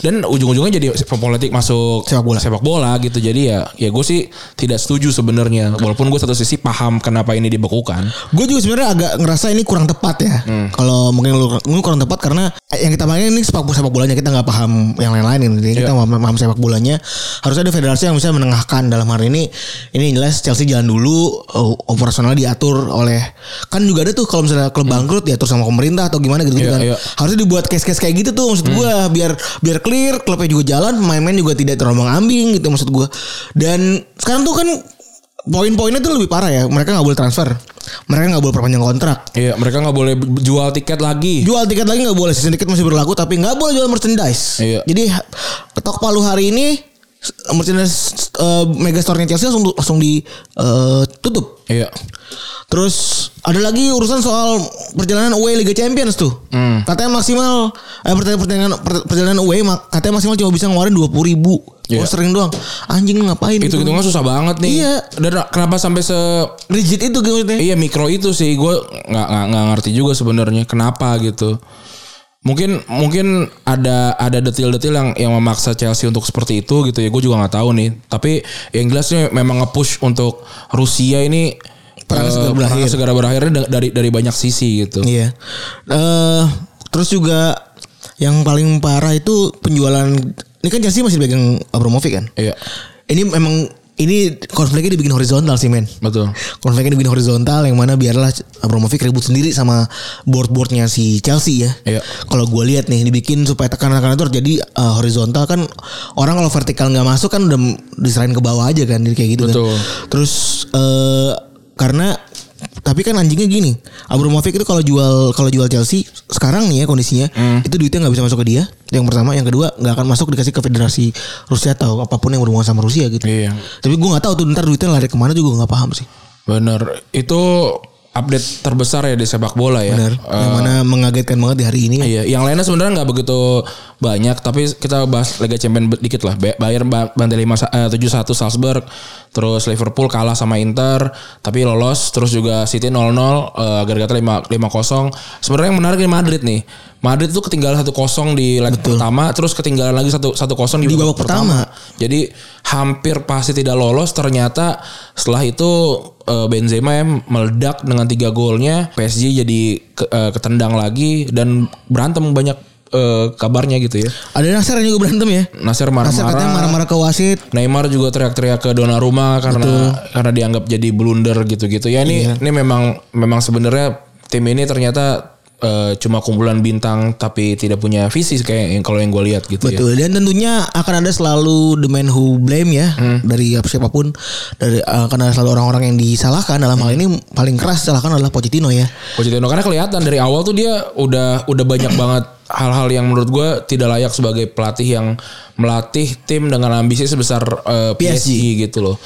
Speaker 2: dan ujung-ujungnya jadi politik masuk
Speaker 3: Sepak bola.
Speaker 2: sepak bola gitu jadi ya ya gue sih tidak setuju sebenarnya walaupun gue satu sisi paham kenapa ini dibekukan
Speaker 3: Gue juga sebenarnya agak ngerasa ini kurang tepat ya.
Speaker 2: Hmm.
Speaker 3: Kalau mungkin lu lu kurang tepat karena yang kita mainin ini sepak sepak bolanya kita nggak paham yang lain-lain ini.
Speaker 2: Iya.
Speaker 3: Kita nggak paham, paham sepak bolanya. Harus ada federasi yang bisa menengahkan dalam hal ini. Ini jelas Chelsea jalan dulu eh, operasional diatur oleh kan juga ada tuh kalau misalnya klub bangkrut diatur sama pemerintah atau gimana gitu,
Speaker 2: Hmm. Iya,
Speaker 3: kan.
Speaker 2: iya.
Speaker 3: Harusnya dibuat case-case kayak gitu tuh maksud gue biar biar clear klubnya juga jalan pemain-pemain juga tidak terombang ambing gitu maksud gue. Dan sekarang tuh kan poin-poinnya tuh lebih parah ya. Mereka nggak boleh transfer, mereka nggak boleh perpanjang kontrak.
Speaker 2: Iya, mereka nggak boleh jual tiket lagi.
Speaker 3: Jual tiket lagi nggak boleh, season tiket masih berlaku tapi nggak boleh jual merchandise.
Speaker 2: Iya.
Speaker 3: Jadi ketok palu hari ini s- merchandise eh, megastore-nya Chelsea langsung langsung eh, ditutup.
Speaker 2: Iya.
Speaker 3: Terus ada lagi urusan soal perjalanan away Liga Champions tuh.
Speaker 2: Hmm.
Speaker 3: Katanya maksimal eh, pertandingan pertandingan per- perjalanan away mak- katanya maksimal cuma bisa ngeluarin dua puluh ribu.
Speaker 2: Iya.
Speaker 3: Oh, sering doang. Anjing lu ngapain? gitu?
Speaker 2: Itu hitungan susah banget nih.
Speaker 3: Iya.
Speaker 2: Dan kenapa sampai se
Speaker 3: rigid itu gitu maksudnya.
Speaker 2: iya mikro itu sih gue nggak nggak nggak ngerti juga sebenarnya kenapa gitu. Mungkin mungkin ada ada detil-detil yang yang memaksa Chelsea untuk seperti itu gitu ya. Gue juga nggak tahu nih. Tapi yang jelasnya memang nge-push untuk Rusia ini eh,
Speaker 3: Perangnya segera
Speaker 2: perangnya
Speaker 3: berakhir.
Speaker 2: segera berakhirnya da- dari dari banyak sisi gitu.
Speaker 3: Iya. Eh terus juga yang paling parah itu penjualan ini kan Chelsea masih pegang Abramovich kan?
Speaker 2: Iya.
Speaker 3: Ini memang ini konfliknya dibikin horizontal sih men.
Speaker 2: Betul.
Speaker 3: Konfliknya dibikin horizontal yang mana biarlah Abramovich ribut sendiri sama board-boardnya si Chelsea ya.
Speaker 2: Iya.
Speaker 3: Kalau gue lihat nih dibikin supaya tekanan-tekanan itu jadi eh, horizontal kan orang kalau vertikal nggak masuk kan udah diserahin ke bawah aja kan jadi kayak gitu
Speaker 2: Betul.
Speaker 3: kan. Terus eh karena tapi kan anjingnya gini, Abramovich itu kalau jual kalau jual Chelsea sekarang nih ya kondisinya
Speaker 2: Hmm.
Speaker 3: itu duitnya nggak bisa masuk ke dia. Yang pertama, yang kedua nggak akan masuk dikasih ke federasi Rusia atau apapun yang berhubungan sama Rusia gitu.
Speaker 2: Iya.
Speaker 3: Tapi gue nggak tahu tuh ntar duitnya lari kemana juga nggak paham sih.
Speaker 2: Bener. Itu update terbesar ya di sepak bola ya.
Speaker 3: Benar. yang mana mengagetkan banget di hari ini.
Speaker 2: Iya, yang lainnya sebenarnya nggak begitu banyak, tapi kita bahas Liga Champions dikit lah. Ba- Bayern ba- bantai lima eh, tujuh satu Salzburg, terus Liverpool kalah sama Inter, tapi lolos. Terus juga City 0-0, eh, gara-gara lima lima kosong. Sebenarnya yang menarik di Madrid nih. Madrid tuh ketinggalan satu kosong di leg pertama, terus ketinggalan lagi satu satu kosong di,
Speaker 3: Di
Speaker 2: babak
Speaker 3: babak pertama.
Speaker 2: Jadi hampir pasti tidak lolos. Ternyata setelah itu eh, Benzema ya meledak dengan tiga golnya. PSG jadi ke- eh, ketendang lagi dan berantem banyak eh, kabarnya gitu ya.
Speaker 3: Ada Nasir yang juga berantem ya.
Speaker 2: Nasir
Speaker 3: Nasir katanya
Speaker 2: marah-marah.
Speaker 3: marah-marah ke wasit.
Speaker 2: Neymar juga teriak-teriak ke Donnarumma karena karena dianggap jadi blunder gitu-gitu. Ya ini
Speaker 3: Iya.
Speaker 2: ini memang memang sebenarnya tim ini ternyata eh, cuma kumpulan bintang tapi tidak punya visi kayak yang kalau yang gue lihat gitu ya.
Speaker 3: Betul. Dan tentunya akan ada selalu the man who blame ya
Speaker 2: Hmm.
Speaker 3: dari siapapun dari eh, akan ada selalu orang-orang yang disalahkan dalam
Speaker 2: Hmm.
Speaker 3: hal ini paling keras salahkan adalah Pochettino ya.
Speaker 2: Pochettino karena kelihatan dari awal tuh dia udah udah banyak banget hal-hal yang menurut gue tidak layak sebagai pelatih yang melatih tim dengan ambisi sebesar eh, PSG, gitu loh.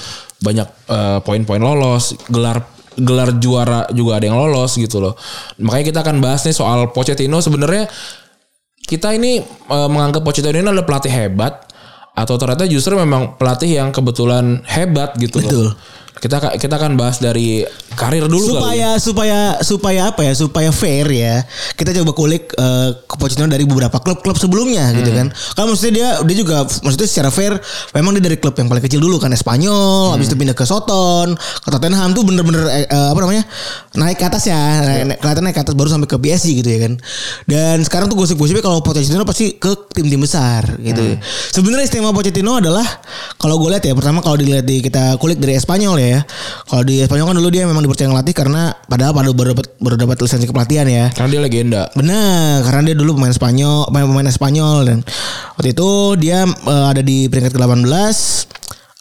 Speaker 2: Banyak eh, poin-poin lolos, gelar gelar juara juga ada yang lolos gitu loh. Makanya kita akan bahas nih soal Pochettino sebenarnya kita ini eh, menganggap Pochettino ini adalah pelatih hebat atau ternyata justru memang pelatih yang kebetulan hebat gitu loh.
Speaker 3: Betul.
Speaker 2: Kita ka- kita akan bahas dari karir dulu kali. ya.
Speaker 3: supaya supaya supaya apa ya supaya fair ya kita coba kulik eh, Pochettino dari beberapa klub-klub sebelumnya
Speaker 2: Hmm.
Speaker 3: gitu kan kan maksudnya dia dia juga maksudnya secara fair memang dia dari klub yang paling kecil dulu kan Espanyol
Speaker 2: Hmm.
Speaker 3: habis itu pindah ke Soton ke Tottenham tuh bener-bener eh, eh, apa namanya naik ke atas ya naik, naik- kelihatan naik ke atas baru sampai ke PSG gitu ya kan dan sekarang tuh gosip-gosipnya kalau Pochettino pasti ke tim-tim besar gitu sebenarnya istimewa Pochettino adalah kalau gue lihat ya pertama kalau dilihat di kita kulik dari Espanyol ya kalau di Espanyol kan dulu dia memang dipercaya ngelatih karena padahal pada baru dapat baru dapat lisensi kepelatihan ya
Speaker 2: Karena dia legenda.
Speaker 3: Benar, karena dia dulu pemain Spanyol, pemain, pemain Spanyol dan waktu itu dia eh, ada di peringkat ke-18.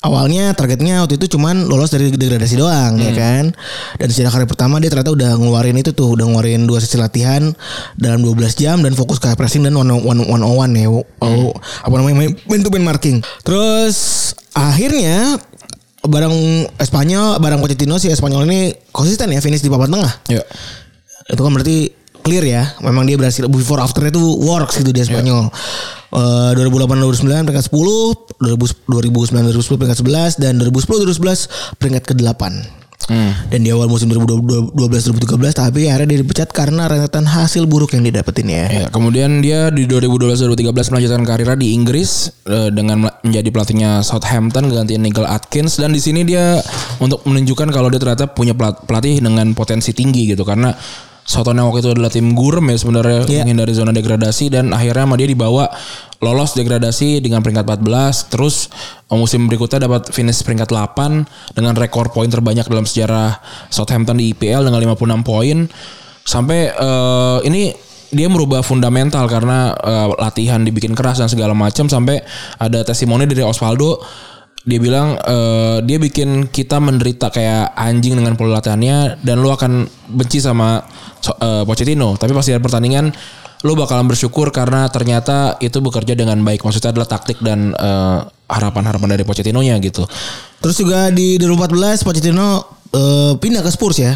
Speaker 3: Awalnya targetnya waktu itu cuman lolos dari degradasi doang ya kan. Dan sejarah karir pertama dia ternyata udah ngeluarin itu tuh, udah ngeluarin dua sesi latihan dalam 12 jam dan fokus ke pressing dan one one one on one ya. Oh, apa namanya main- main to main marking. Terus akhirnya barang Espanyol, barang Pochettino si Espanyol ini konsisten ya finish di papan tengah
Speaker 2: Ya.
Speaker 3: itu kan berarti clear ya memang dia berhasil before after itu works gitu dia Spanyol Eh, 2008 2009 peringkat 10 2000, 2009 2010 peringkat 11 dan 2010 2011 peringkat ke-8 dan di awal musim 2012 2013 tapi akhirnya dia dipecat karena rentetan hasil buruk yang didapetin ya
Speaker 2: Ya, kemudian dia di 2012-2013 melanjutkan karirnya di Inggris eh, dengan mel- menjadi pelatihnya Southampton gantiin Nigel Atkins dan di sini dia untuk menunjukkan kalau dia ternyata punya pelat- pelatih dengan potensi tinggi gitu karena Southampton yang waktu itu adalah tim gurem ya sebenarnya
Speaker 3: Iya.
Speaker 2: menghindari zona degradasi dan akhirnya sama dia dibawa lolos degradasi dengan peringkat 14 terus eh, musim berikutnya dapat finish peringkat 8 dengan rekor poin terbanyak dalam sejarah Southampton di IPL dengan 56 poin sampai eh, ini dia merubah fundamental karena eh, latihan dibikin keras dan segala macam sampai ada testimoni dari Osvaldo dia bilang eh, dia bikin kita menderita kayak anjing dengan pola latihannya dan lu akan benci sama so- eh, Pochettino tapi pas di akhir pertandingan lu bakalan bersyukur karena ternyata itu bekerja dengan baik maksudnya adalah taktik dan eh, harapan-harapan dari Pochettino-nya gitu
Speaker 3: Terus juga di 2014 Pochettino eh, pindah ke Spurs ya.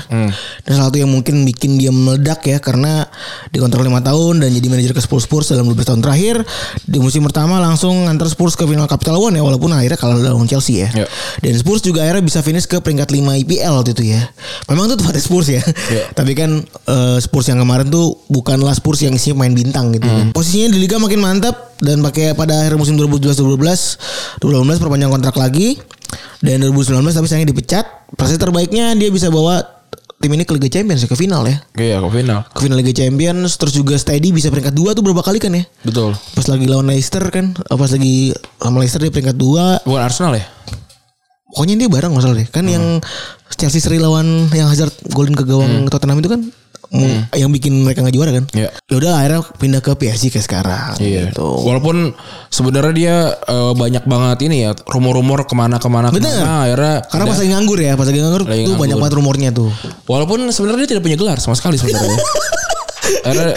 Speaker 3: Dan salah satu yang mungkin bikin dia meledak ya karena dikontrak 5 tahun dan jadi manajer ke Spurs Spurs dalam 12 tahun terakhir. Di musim pertama langsung ngantar Spurs ke final Capital One ya walaupun akhirnya kalah lawan Chelsea ya.
Speaker 2: Ya.
Speaker 3: Dan Spurs juga akhirnya bisa finish ke peringkat 5 IPL waktu itu ya. Memang itu tempatnya Spurs ya. <laughs> Tapi kan eh, Spurs yang kemarin tuh bukanlah Spurs yang isinya main bintang gitu. kan. Posisinya di liga makin mantap dan pakai pada akhir musim 2012-2012 2018 perpanjang kontrak lagi dan 2019 tapi sayangnya dipecat. Prestasi terbaiknya dia bisa bawa tim ini ke Liga Champions ya, ke final ya.
Speaker 2: iya ke final
Speaker 3: Ke final Liga Champions terus juga Steady bisa peringkat 2 tuh berapa kali kan ya?
Speaker 2: betul
Speaker 3: Pas lagi lawan Leicester kan, eh, pas lagi lawan Leicester dia peringkat 2,
Speaker 2: bukan Arsenal ya
Speaker 3: Pokoknya dia bareng masalah deh. Kan yang Chelsea seri lawan yang Hazard golin ke
Speaker 2: Hmm.
Speaker 3: gawang Tottenham itu kan mu- yang bikin mereka nggak juara kan?
Speaker 2: Iya.
Speaker 3: Ya udah akhirnya pindah ke PSG kayak sekarang
Speaker 2: Iya.
Speaker 3: gitu.
Speaker 2: Walaupun sebenarnya dia eh, banyak banget ini ya rumor-rumor kemana-kemana.
Speaker 3: Bener.
Speaker 2: Kemana, akhirnya
Speaker 3: Karena pas lagi nganggur ya, pas lagi nganggur
Speaker 2: Lagi
Speaker 3: tuh banyak
Speaker 2: nganggur.
Speaker 3: banget rumornya tuh.
Speaker 2: walaupun sebenarnya dia tidak punya gelar sama sekali sebenarnya. Karena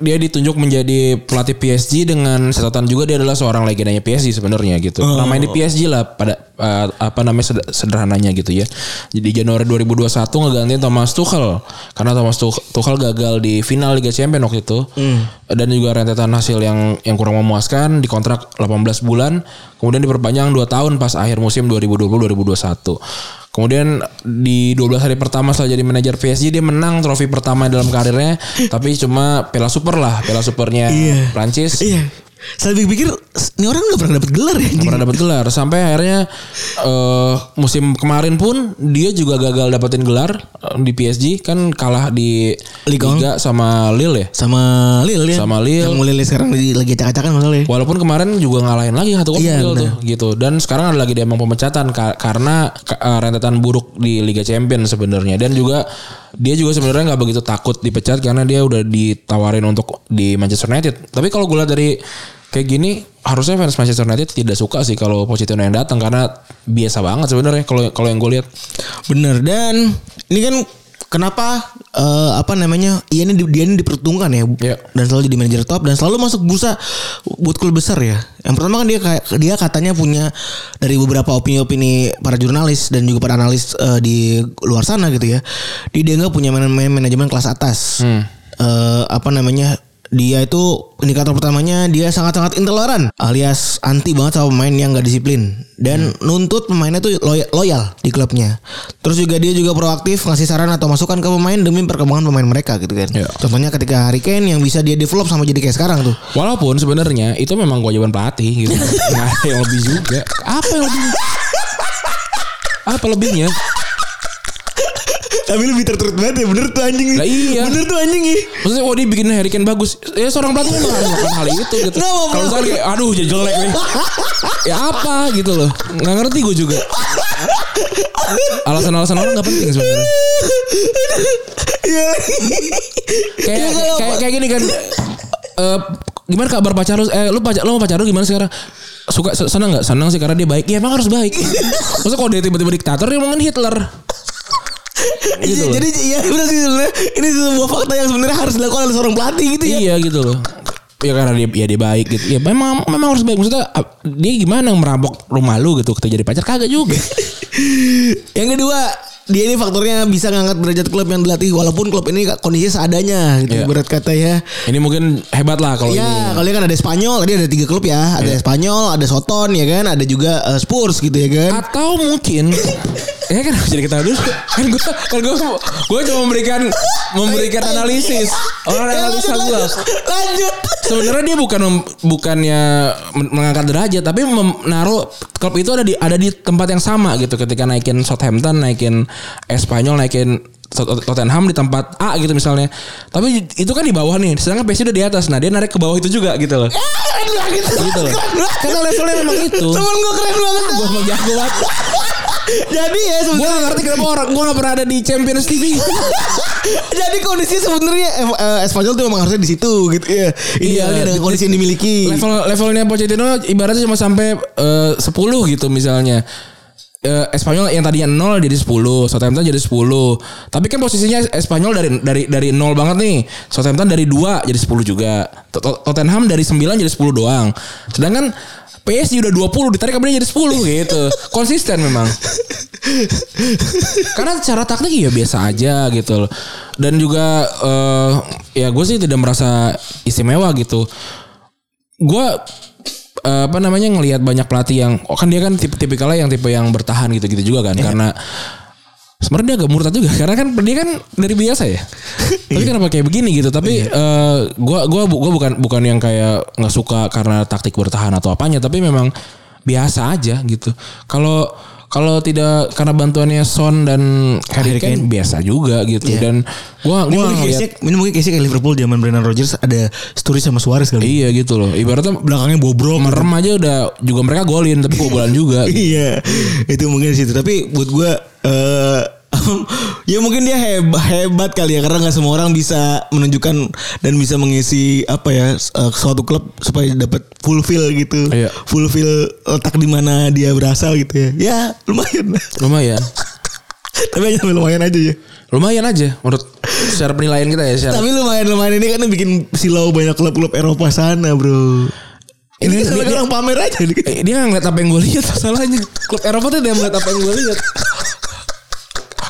Speaker 2: dia ditunjuk menjadi pelatih PSG dengan catatan juga dia adalah seorang legendanya PSG sebenarnya gitu. Pernah main di PSG lah pada eh, apa namanya sed- sederhananya gitu ya. Jadi Januari 2021 ngegantiin Thomas Tuchel karena Thomas Tuch- Tuchel gagal di final Liga Champions waktu itu. Dan juga rentetan hasil yang yang kurang memuaskan dikontrak 18 bulan kemudian diperpanjang 2 tahun pas akhir musim 2020-2021. Kemudian di 12 hari pertama setelah jadi manajer PSG dia menang trofi pertama dalam
Speaker 3: <laughs>
Speaker 2: karirnya, tapi cuma Piala Super lah, Piala Supernya
Speaker 3: Iya.
Speaker 2: Prancis.
Speaker 3: Iya. Saya pikir ini orang nggak pernah dapat gelar ya.
Speaker 2: Nggak pernah dapat gelar sampai akhirnya eh, musim kemarin pun dia juga gagal dapetin gelar eh, di PSG kan kalah di
Speaker 3: Liga.
Speaker 2: sama Lille ya.
Speaker 3: Sama Lil ya.
Speaker 2: Sama Lille.
Speaker 3: Yang mulai sekarang lagi, lagi acak-acakan ya. masalahnya.
Speaker 2: Walaupun kemarin juga ngalahin lagi satu kosong
Speaker 3: Iya,
Speaker 2: Lille tuh gitu. Dan sekarang ada lagi dia emang pemecatan ka- karena ka- eh, rentetan buruk di Liga Champions sebenarnya dan juga dia juga sebenarnya nggak begitu takut dipecat karena dia udah ditawarin untuk di Manchester United. Tapi kalau gue lihat dari kayak gini harusnya fans Manchester United tidak suka sih kalau Pochettino yang datang karena biasa banget sebenarnya kalau kalau yang gue lihat.
Speaker 3: Bener dan ini kan kenapa eh, apa namanya iya ini di- dia ini diperhitungkan ya
Speaker 2: Iya.
Speaker 3: dan selalu jadi manajer top dan selalu masuk bursa buat klub besar ya. Yang pertama kan dia kayak- dia katanya punya dari beberapa opini-opini para jurnalis dan juga para analis eh, di luar sana gitu ya. Dia dianggap punya man- man- manajemen kelas atas. Eh, apa namanya Dia itu indikator pertamanya dia sangat-sangat intoleran alias anti banget sama pemain yang gak disiplin dan nuntut pemainnya tuh loy- loyal di klubnya. Terus juga dia juga proaktif ngasih saran atau masukan ke pemain demi perkembangan pemain mereka gitu kan.
Speaker 2: Iya.
Speaker 3: Contohnya ketika Harry Kane yang bisa dia develop sama jadi kayak sekarang tuh.
Speaker 2: Walaupun sebenarnya itu memang kewajiban pelatih gitu. <laughs> Nggak ada yang lebih juga. Apa yang lebih? Apa lebihnya?
Speaker 3: <laughs> Tapi lebih terturut banget ya bener tuh anjing
Speaker 2: Lah iya.
Speaker 3: tuh anjing ih.
Speaker 2: Maksudnya oh dia bikin Harry Kane bagus. Ya seorang pelatih memang harus melakukan hal itu gitu.
Speaker 3: Nggak mau
Speaker 2: Kalau misalnya kayak, aduh jadi jelek nih. Ya apa gitu loh. Nggak ngerti gue juga. Alasan-alasan orang nggak penting sebenarnya.
Speaker 3: Iya.
Speaker 2: Kayak
Speaker 3: Iya, kalau-
Speaker 2: kayak kayak gini kan. Eh, gimana kabar pacar lu? Eh lu pacar lu sama pacar lu gimana sekarang? Suka se- senang nggak? Senang sih karena dia baik. Ya emang harus baik. Maksudnya kalau dia tiba-tiba diktator dia mungkin Hitler. Gitu
Speaker 3: Iya,
Speaker 2: loh.
Speaker 3: jadi ya bener sih sebenarnya ini sebuah fakta yang sebenarnya harus dilakukan oleh seorang pelatih gitu ya.
Speaker 2: Iya gitu loh. Ya karena dia ya dia baik gitu. Ya memang memang harus baik. Maksudnya ap- dia gimana merampok rumah lu gitu ketika jadi pacar kagak juga.
Speaker 3: <laughs> Yang kedua, dia ini faktornya bisa ngangkat derajat klub yang dilatih walaupun klub ini kondisinya seadanya gitu
Speaker 2: Iya.
Speaker 3: ibarat kata ya.
Speaker 2: Ini mungkin hebat lah kalau
Speaker 3: Ya,
Speaker 2: ini.
Speaker 3: kalau dia kan ada Spanyol, tadi ada tiga klub ya, ada Spanyol, ada Soton ya kan, ada juga eh, Spurs gitu ya kan.
Speaker 2: Atau mungkin ya kan <laughs> jadi kita dulu kan gue kan gue gue cuma memberikan memberikan analisis orang
Speaker 3: Ya,
Speaker 2: analisa
Speaker 3: Iya. lanjut,
Speaker 2: gue
Speaker 3: lanjut, Lanjut. <laughs>
Speaker 2: sebenarnya dia bukan mem- bukannya men- mengangkat derajat tapi menaruh klub itu ada di ada di tempat yang sama gitu ketika naikin Southampton naikin Espanyol naikin Tot- Tottenham di tempat A gitu misalnya tapi itu kan di bawah nih sedangkan PSG udah di atas nah dia narik ke bawah itu juga gitu loh
Speaker 3: Ah, Keren banget.
Speaker 2: gitu loh
Speaker 3: Keren banget.
Speaker 2: karena levelnya memang itu
Speaker 3: Temen gue keren banget.
Speaker 2: gue mau jago banget
Speaker 3: Jadi ya
Speaker 2: gue
Speaker 3: sebenarnya
Speaker 2: gak ngerti kenapa orang gue gak pernah ada di Champions League
Speaker 3: <laughs> Jadi kondisinya sebenarnya eh, eh, Espanyol tuh memang harusnya di situ gitu ya. Idealnya dengan
Speaker 2: gitu.
Speaker 3: kondisi yang dimiliki.
Speaker 2: level levelnya Pochettino ibaratnya cuma sampai eh, 10 gitu misalnya. Eh, Espanyol yang tadinya 0 jadi 10, Southampton jadi 10. Tapi kan posisinya Espanyol dari dari dari 0 banget nih. Southampton dari 2 jadi 10 juga. Tot- Tottenham dari 9 jadi 10 doang. Sedangkan PSG udah 20 ditarik kemudian jadi 10 <laughs> gitu. Konsisten memang. Karena secara taktik ya biasa aja gitu loh. Dan juga eh, ya gue sih tidak merasa istimewa gitu. Gue eh, apa namanya ngelihat banyak pelatih yang oh kan dia kan tipe tipikalnya yang tipe yang bertahan gitu-gitu juga
Speaker 3: Iya.
Speaker 2: kan karena sebenarnya dia agak murtad juga <laughs> karena kan dia kan dari biasa
Speaker 3: <laughs>
Speaker 2: ya. tapi
Speaker 3: Iya.
Speaker 2: kenapa kayak begini gitu? Tapi eh, gua gua bu- gua bukan bukan yang kayak nggak suka karena taktik bertahan atau apanya tapi memang biasa aja gitu. Kalau kalau tidak karena bantuannya Son dan Harry
Speaker 3: Harry Kane. Iya.
Speaker 2: Kane biasa juga gitu dan gua
Speaker 3: Ini
Speaker 2: gua
Speaker 3: mungkin
Speaker 2: ngeliat-
Speaker 3: case-nya- ini mungkin case-nya kayak Liverpool zaman Brendan Rodgers ada Sturridge sama Suarez kali.
Speaker 2: Iya gitu loh. Ibaratnya
Speaker 3: Belakangnya bobrok.
Speaker 2: Oh, merem aja udah juga mereka golin tapi kebobolan juga.
Speaker 3: <laughs> Iya. Itu mungkin di situ. Tapi buat gue eh <laughs> ya mungkin dia hebat, hebat kali ya karena nggak semua orang bisa menunjukkan dan bisa mengisi apa ya s- eh, suatu klub supaya dapat fulfill gitu.
Speaker 2: Iya.
Speaker 3: Fulfill letak di mana dia berasal gitu ya. Ya, lumayan. <laughs>
Speaker 2: Lumayan.
Speaker 3: Tapi hanya lumayan aja ya.
Speaker 2: Lumayan aja menurut secara penilaian kita ya secara
Speaker 3: Tapi lumayan-lumayan ini kan bikin silau banyak klub-klub Eropa sana, Bro. Ini
Speaker 2: Ini-
Speaker 3: salah
Speaker 2: ini-
Speaker 3: orang pamer aja <laughs> nih.
Speaker 2: Eh, dia nggak ngeliat apa yang gue lihat masalahnya klub Eropa tuh dia ngeliat apa yang gue lihat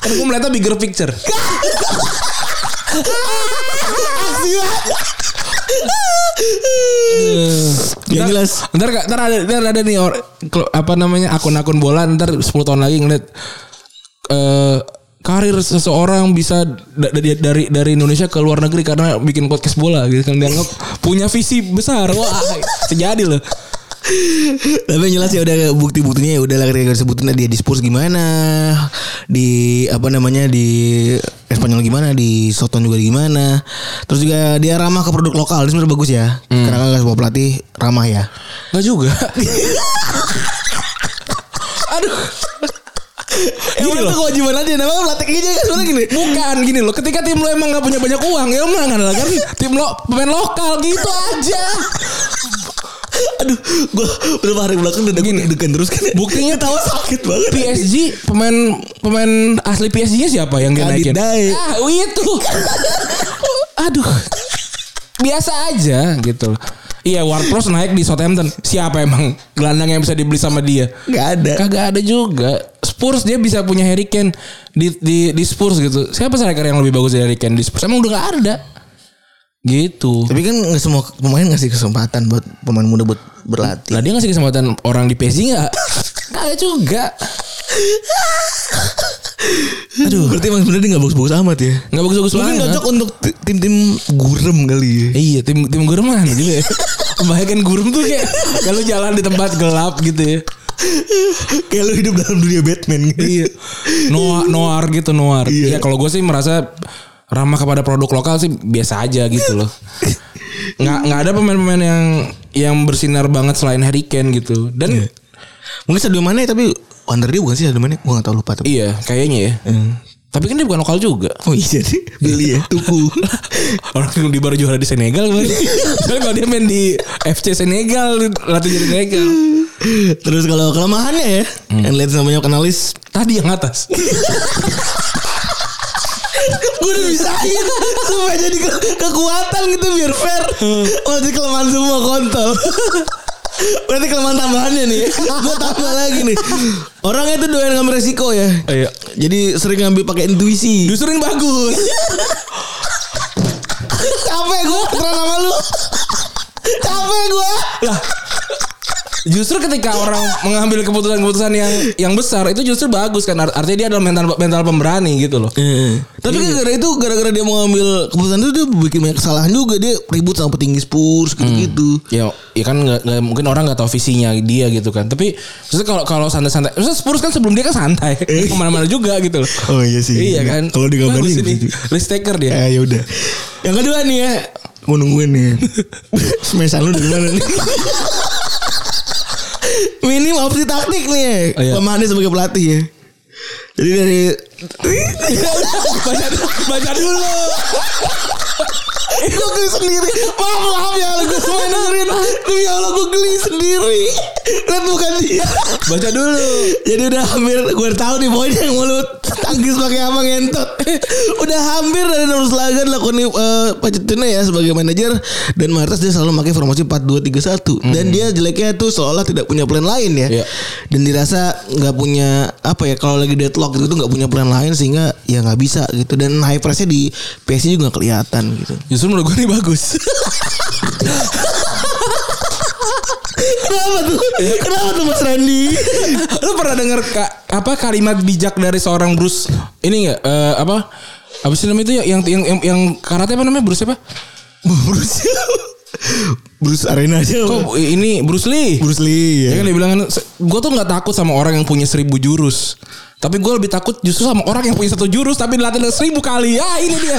Speaker 2: kan gue melihatnya bigger picture
Speaker 3: Iya. Yang Ya, jelas.
Speaker 2: ntar nggak- ntar ada ntar ada nih or- klub- apa namanya akun-akun bola ntar 10 tahun lagi ngeliat eh karir seseorang bisa da- dari dari dari Indonesia ke luar negeri karena bikin podcast bola gitu kan dianggap punya visi besar wah sejadi loh
Speaker 3: Tapi yang jelas ya udah bukti-buktinya ya udah lah ketika disebutin dia ya, di Spurs gimana, di apa namanya di Espanyol gimana, di Soton juga gimana. Terus juga dia ramah ke produk lokal, ini sebenarnya bagus ya. Karena kan nggak semua pelatih ramah ya.
Speaker 2: Gak juga.
Speaker 3: <laughs>
Speaker 2: Aduh. Gini
Speaker 3: Emang itu
Speaker 2: loh.
Speaker 3: Eh, kewajiban aja, namanya pelatih aja kan sebenarnya gini.
Speaker 2: Bukan gini loh. Ketika tim lo emang gak punya banyak uang ya emang kan kan tim lo pemain lokal gitu aja.
Speaker 3: Aduh, gue beberapa hari belakang udah
Speaker 2: Gini.
Speaker 3: deg-degan terus kan.
Speaker 2: Buktinya
Speaker 3: tawa sakit banget.
Speaker 2: PSG pemain pemain asli PSG-nya siapa yang dia naikin?
Speaker 3: Kadit Dai.
Speaker 2: Ah, itu. Aduh. Biasa aja gitu loh. Iya, Ward-Prowse naik di Southampton. Siapa emang gelandang yang bisa dibeli sama dia?
Speaker 3: Gak ada.
Speaker 2: Kagak ada juga. Spurs dia bisa punya Harry Kane di di di Spurs gitu. Siapa striker yang lebih bagus dari Harry Kane di Spurs? Emang udah gak ada. Gitu.
Speaker 3: Tapi kan nggak semua pemain ngasih kesempatan buat pemain muda buat berlatih.
Speaker 2: Lah dia ngasih kesempatan orang di PSG
Speaker 3: <laughs>
Speaker 2: nggak? Kagak juga.
Speaker 3: Aduh. Berarti emang sebenarnya dia nggak bagus-bagus amat ya.
Speaker 2: Nggak bagus-bagus
Speaker 3: Mungkin
Speaker 2: banget.
Speaker 3: cocok untuk ti- tim-tim gurem kali ya.
Speaker 2: Iya tim tim guruman gitu ya. <laughs> Kebanyakan gurum tuh kayak kalau jalan di tempat gelap gitu ya.
Speaker 3: Kayak lu hidup dalam dunia Batman gitu.
Speaker 2: Iya. Noir, noir gitu noir.
Speaker 3: Iya.
Speaker 2: Iya. kalau gue sih merasa ramah kepada produk lokal sih biasa aja gitu loh. Nggak nggak ada pemain-pemain yang yang bersinar banget selain Harry Kane gitu. Dan
Speaker 3: Iya. Mungkin Sadio Mane tapi Wonder dia bukan sih Sadio Mane. Gua nggak tahu lupa tapi.
Speaker 2: iya kayaknya ya. Tapi kan dia bukan lokal juga.
Speaker 3: Oh iya sih. Beli ya. <laughs> Tuku.
Speaker 2: Orang yang di baru juara di Senegal kemarin. Soalnya kalau dia main di FC Senegal, latih jadi Senegal.
Speaker 3: Terus kalau kelemahannya ya. Yang lihat namanya analis.
Speaker 2: Tadi yang atas.
Speaker 3: Gue udah bisain. Supaya jadi ke- kekuatan gitu biar fair. Kalau jadi kelemahan semua kontol. Berarti kelemahan tambahannya nih. Gue tambah lagi nih. Orang itu doyan ngambil resiko ya.
Speaker 2: Iya.
Speaker 3: Jadi sering ngambil pakai intuisi.
Speaker 2: Justru yang bagus.
Speaker 3: Capek gue keteran sama lu. Capek gue.
Speaker 2: Justru ketika orang mengambil keputusan-keputusan yang yang besar itu justru bagus kan. Art- Artinya dia adalah mental mental pemberani gitu loh.
Speaker 3: Tapi kan gara itu gara-gara dia mau ngambil keputusan itu dia bikin banyak kesalahan juga dia ribut sama petinggi Spurs gitu-gitu.
Speaker 2: Ya, ya kan nggak- nggak- mungkin orang nggak tahu visinya dia gitu kan. Tapi maksudnya kalau kalau santai-santai, maksudnya Spurs kan sebelum dia kan santai, kemana-mana juga gitu loh.
Speaker 3: Oh iya sih.
Speaker 2: Iya kan.
Speaker 3: Kalau digambarin
Speaker 2: Bagus ini.
Speaker 3: gitu.
Speaker 2: Risk taker dia.
Speaker 3: Eh ya udah. Yang kedua nih ya mau nungguin <laughs> nih. Semesan lu dari mana nih? Minim opsi taktik nih. ya.
Speaker 2: Oh, iya.
Speaker 3: Kelemahannya sebagai pelatih ya. Jadi dari
Speaker 2: <laughs> baca, baca dulu.
Speaker 3: gue Eh, geli sendiri Maaf maaf ya Gue semua dengerin Demi Allah gue geli sendiri Dan bukan dia
Speaker 2: Baca dulu.
Speaker 3: Jadi udah hampir gue tahu nih poinnya yang mulut tangkis pakai apa ngentot. <laughs> udah hampir dari nomor laga dilakukan eh Pochettino ya sebagai manajer dan Martes dia selalu pakai formasi 4-2-3-1 dan dia jeleknya tuh seolah tidak punya plan lain ya.
Speaker 2: Hmm. Iya.
Speaker 3: Dan dirasa nggak punya apa ya kalau lagi deadlock gitu tuh nggak punya plan lain sehingga ya nggak bisa gitu dan high pressnya di PSG juga nggak kelihatan gitu.
Speaker 2: Justru menurut gue ini bagus.
Speaker 3: Kenapa tuh? Kenapa tuh Mas Randy?
Speaker 2: Lu pernah denger ka, apa kalimat bijak dari seorang Bruce ini enggak eh, apa? Apa sih namanya itu ya? yang yang yang, yang karate apa namanya Bruce apa?
Speaker 3: Bruce <laughs> Bruce Arena aja.
Speaker 2: Kok
Speaker 3: Kok
Speaker 2: ini Bruce Lee.
Speaker 3: Bruce Lee
Speaker 2: Ya kan dia bilang kan, gue tuh nggak takut sama orang yang punya seribu jurus. Tapi gue lebih takut justru sama orang yang punya satu jurus tapi dilatih dengan seribu kali. Ya ini dia.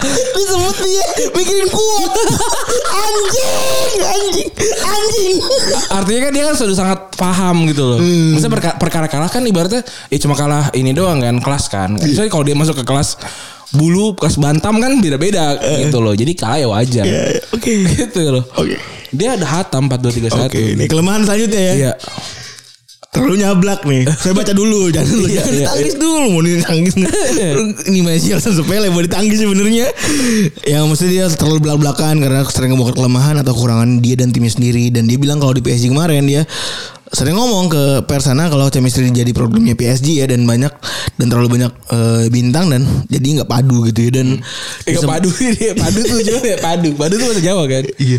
Speaker 3: Ini sempet dia mikirin kuat Anjing Anjing Anjing
Speaker 2: Artinya kan dia kan sudah sangat paham gitu loh.
Speaker 3: Hmm.
Speaker 2: Maksudnya perka- perkara kalah kan ibaratnya ya cuma kalah ini doang kan kelas kan.
Speaker 3: Iya.
Speaker 2: Misalnya kalau dia masuk ke kelas bulu kelas bantam kan beda-beda
Speaker 3: Eh.
Speaker 2: gitu loh. Jadi kalah ya wajar.
Speaker 3: Iya. Oke
Speaker 2: gitu loh.
Speaker 3: Oke
Speaker 2: Dia ada hatam 4 2 3 1.
Speaker 3: Oke ini kelemahan selanjutnya ya
Speaker 2: Iya.
Speaker 3: Terlalu nyablak nih Saya baca
Speaker 2: <laughs>
Speaker 3: dulu Jangan dulu
Speaker 2: Iya,
Speaker 3: Jangan
Speaker 2: iya,
Speaker 3: ditangkis dulu Mau ditangkis
Speaker 2: <laughs>
Speaker 3: nih. Ini masih alasan sepele Mau ditangkis sebenarnya Ya maksudnya dia terlalu belak-belakan Karena sering ngebongkar kelemahan Atau kekurangan dia dan timnya sendiri Dan dia bilang kalau di PSG kemarin Dia sering ngomong ke persana kalau chemistry jadi problemnya PSG ya dan banyak dan terlalu banyak eh, bintang dan jadi nggak padu gitu ya dan
Speaker 2: Eh,
Speaker 3: Disem-
Speaker 2: padu dia, padu tuh cuma ya padu. Padu tuh bahasa Jawa kan.
Speaker 3: Iya.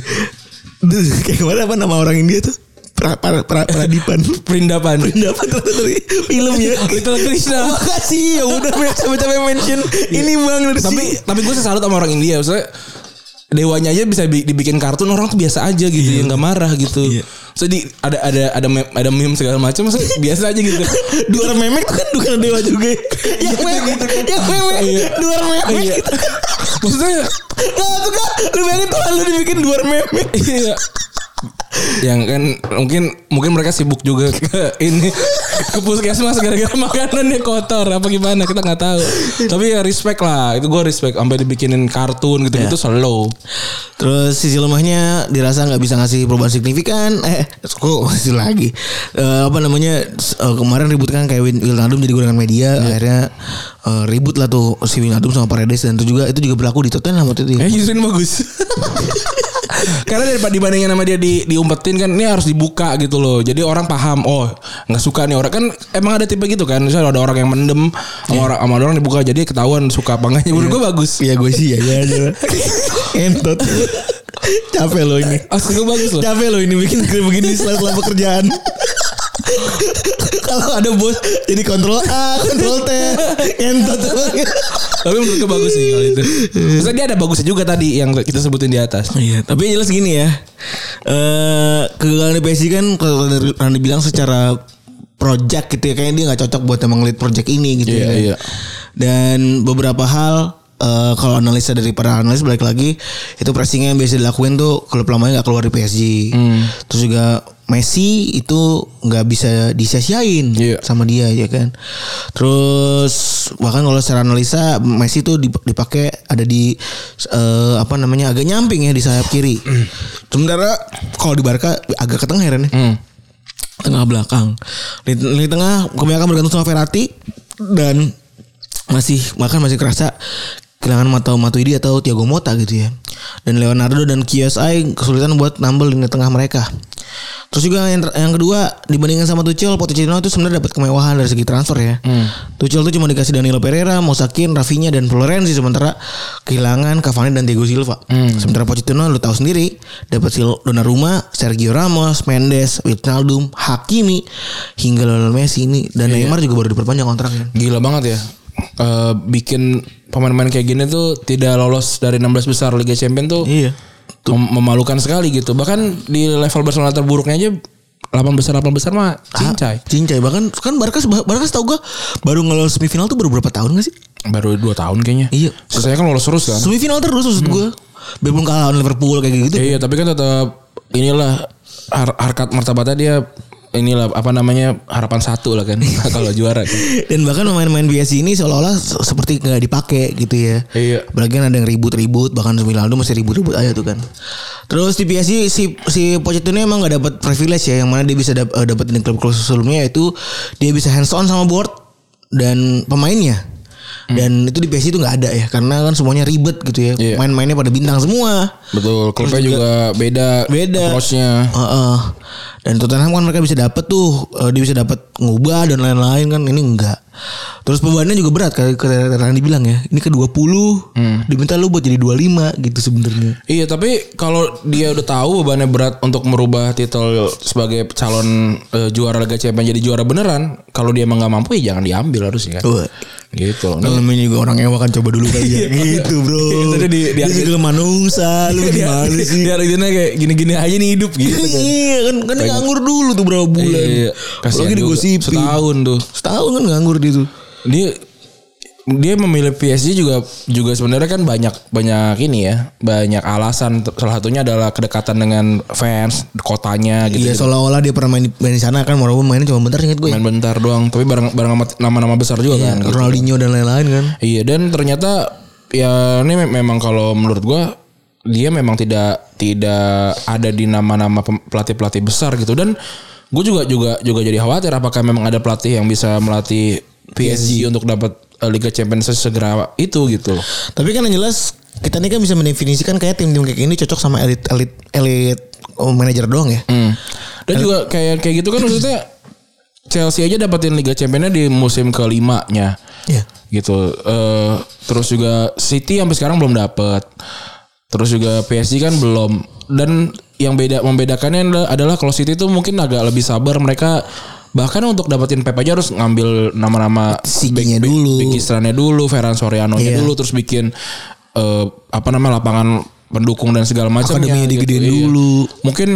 Speaker 3: Duh, kayak kemarin apa nama orang India tuh? Pra, pra, pra,
Speaker 2: <laughs>
Speaker 3: pradipan.
Speaker 2: Perindapan.
Speaker 3: Pendapat ternyata dari film ya.
Speaker 2: Little Krishna. Iya.
Speaker 3: Makasih ya udah men- sampai-sampai mention ini bang dari
Speaker 2: tapi tapi gue sih salut sama orang India maksudnya dewanya aja bisa bi- dibikin kartun orang tuh biasa aja gitu yang nggak marah gitu
Speaker 3: Iya.
Speaker 2: so di ada ada ada meme, ada meme segala macam maksudnya biasa aja gitu
Speaker 3: dua orang memek tuh kan dua orang dewa juga. ya. yang memek, yang memek,
Speaker 2: Iya.
Speaker 3: dua orang memek.
Speaker 2: Iya. maksudnya
Speaker 3: Nah Gitu kan. tuh kan lu bayangin tuh lu dibikin dua orang memek.
Speaker 2: iya yang kan mungkin mungkin mereka sibuk juga ke ini ke puskesmas gara-gara makanannya kotor apa gimana kita nggak tahu
Speaker 3: Iya.
Speaker 2: tapi ya respect lah itu gue respect sampai dibikinin kartun gitu
Speaker 3: Iya.
Speaker 2: gitu slow
Speaker 3: Terus sisi lemahnya dirasa nggak bisa ngasih perubahan signifikan. Eh, kok <laughs> masih lagi. Eh, apa namanya s- eh, kemarin ribut kan kayak Win Wijnaldum jadi gorengan media. Akhirnya eh, ribut lah Eh, tuh si Wijnaldum sama Paredes dan itu juga itu juga berlaku di Tottenham waktu itu. ya.
Speaker 2: eh justru ini bagus <laughs> Karena daripada dibandingin sama dia di, diumpetin kan ini harus dibuka gitu loh. Jadi orang paham, oh nggak suka nih orang kan emang ada tipe gitu kan. Misalnya ada orang yang mendem sama orang sama ada orang dibuka jadi ketahuan suka apa enggaknya. Menurut gue bagus.
Speaker 3: Iya gue sih ya ya aja. <laughs> Entot. Capek lo ini.
Speaker 2: Oh, gue bagus
Speaker 3: <laughs>
Speaker 2: loh.
Speaker 3: Capek lo ini bikin kayak begini <laughs> setelah pekerjaan. Kalau ada bos jadi kontrol A, kontrol T, entot.
Speaker 2: Tapi menurut gue bagus sih kalau itu. Maksudnya dia ada bagusnya juga tadi yang kita sebutin di atas.
Speaker 4: Iya, tapi yang jelas gini ya. Eh kegagalan di PSG kan kalau dari-
Speaker 3: Karena dibilang secara project gitu ya kayaknya dia nggak cocok buat emang lead project ini gitu
Speaker 2: Iya,
Speaker 3: ya.
Speaker 2: iya.
Speaker 3: Dan beberapa hal eh, kalau analisa dari para analis balik lagi itu pressingnya yang biasa dilakuin tuh klub lamanya nggak keluar di PSG.
Speaker 2: Hmm.
Speaker 3: Terus juga Messi itu nggak bisa disia-siain
Speaker 2: Iya.
Speaker 3: sama dia ya kan. Terus bahkan kalau secara analisa Messi tuh dip- dipakai ada di eh, apa namanya agak nyamping ya di sayap kiri. Sementara kalau di Barca agak ke tengah ya Ren, ya
Speaker 2: Hmm. Hmm.
Speaker 3: tengah belakang di, di tengah kebanyakan bergantung sama Verratti dan masih bahkan masih kerasa kehilangan Matau Matuidi atau Thiago Motta gitu ya dan Leonardo dan KSI kesulitan buat nambel di tengah mereka terus juga yang, ter- yang kedua dibandingkan sama Tuchel Pochettino itu sebenarnya dapat kemewahan dari segi transfer ya Tuchel tuh cuma dikasih Danilo Pereira Mosakin Rafinha dan Florenzi sementara kehilangan Cavani dan Thiago Silva sementara Pochettino lu tahu sendiri dapat Sil- Donnarumma Sergio Ramos Mendes Wijnaldum Hakimi hingga Lionel Messi ini dan Neymar juga baru diperpanjang kontraknya
Speaker 2: Gila banget ya. Eh, bikin pemain-pemain kayak gini tuh tidak lolos dari 16 besar Liga Champions tuh.
Speaker 3: Iya.
Speaker 2: mem- memalukan sekali gitu. Bahkan di level Barcelona terburuknya aja 8 besar 8 besar
Speaker 3: Ah.
Speaker 2: mah cincai.
Speaker 3: Cincai bahkan kan Barca Barca setahu gua baru ngelolos semifinal tuh baru berapa tahun gak sih?
Speaker 2: Baru 2 tahun kayaknya.
Speaker 3: Iya.
Speaker 2: Sisanya kan lolos terus kan.
Speaker 3: Semifinal terus maksud gua. Biarpun kalah lawan Liverpool kayak gitu.
Speaker 2: Iya, iya, tapi kan tetap inilah har- harkat martabatnya dia inilah apa namanya harapan satu lah kan <laughs> kalau juara kan.
Speaker 3: Dan bahkan pemain-pemain biasa ini seolah-olah se- seperti nggak dipakai gitu ya.
Speaker 2: Iya.
Speaker 3: Apalagi kan ada yang ribut-ribut bahkan Ronaldo masih ribut-ribut aja tuh kan. Terus di PSG si si Pochettino emang nggak dapat privilege ya yang mana dia bisa dap- eh, dapetin di klub-klub sebelumnya yaitu dia bisa hands on sama board dan pemainnya. Dan itu di PSG itu nggak ada ya karena kan semuanya ribet gitu ya.
Speaker 2: Hmm. Iya.
Speaker 3: Main-mainnya pada bintang semua.
Speaker 2: Betul, klubnya juga, beda
Speaker 3: Beda.
Speaker 2: approach-nya.
Speaker 3: Heeh. Dan Tottenham kan mereka bisa dapat tuh, eh, dia bisa dapat ngubah dan lain-lain kan ini enggak. Terus bebannya juga berat kayak kayak Randy bilang ya. Ini ke 20 diminta lu buat jadi 25 gitu sebenarnya.
Speaker 2: Iya tapi kalau dia udah tahu bebannya berat untuk merubah titel sebagai calon eh, juara Liga Champions jadi juara beneran, kalau dia emang nggak mampu ya jangan diambil harusnya kan.
Speaker 3: Tuh.
Speaker 2: Gitu. loh. Nah,
Speaker 3: Namanya juga orang ewa kan coba dulu kali ya. gitu, Bro.
Speaker 2: Itu dia di-
Speaker 3: dia
Speaker 2: di-
Speaker 3: juga manungsa, lu
Speaker 2: Iya.
Speaker 3: gimana sih?
Speaker 2: Dia harusnya kayak gini-gini aja nih hidup gitu.
Speaker 3: Iya kan kan dia nganggur dulu tuh berapa bulan.
Speaker 2: Iya, kasihan
Speaker 3: Apalagi
Speaker 2: juga.
Speaker 3: digosipin.
Speaker 2: Setahun tuh.
Speaker 3: Setahun kan nganggur dia tuh.
Speaker 2: Dia dia memilih PSG juga juga sebenarnya kan banyak banyak ini ya banyak alasan salah satunya adalah kedekatan dengan fans kotanya gitu
Speaker 3: Iya seolah-olah dia pernah main di, main di sana kan walaupun mainnya cuma bentar inget gue.
Speaker 2: main bentar doang tapi bareng bareng sama nama-nama besar juga
Speaker 3: Iya,
Speaker 2: kan gitu.
Speaker 3: Ronaldinho dan lain-lain kan.
Speaker 2: Iya dan ternyata ya ini me- memang kalau menurut gua dia memang tidak tidak ada di nama-nama pelatih pelatih besar gitu dan gue juga juga juga jadi khawatir apakah memang ada pelatih yang bisa melatih PSG untuk dapat eh, Liga Champions segera itu gitu loh.
Speaker 3: Tapi kan yang jelas kita ini kan bisa mendefinisikan kayak tim-tim kayak gini cocok sama elit elit elit oh, manajer doang ya.
Speaker 2: Hmm. Dan juga kayak kayak gitu kan maksudnya Chelsea aja dapetin Liga Champions-nya di musim kelimanya.
Speaker 3: Iya.
Speaker 2: gitu eh terus juga City sampai sekarang belum dapet terus juga PSG kan belum dan yang beda membedakannya adalah- adalah kalau City itu mungkin agak lebih sabar mereka bahkan untuk dapetin Pep aja harus ngambil nama-nama
Speaker 3: Siginya
Speaker 2: back- back-
Speaker 3: dulu.
Speaker 2: back istrannya dulu Ferran Soriano
Speaker 3: Iya.
Speaker 2: dulu terus bikin eh, apa namanya lapangan pendukung dan segala macam ya, gitu. Iya.
Speaker 3: Akademinya digedein dulu.
Speaker 2: mungkin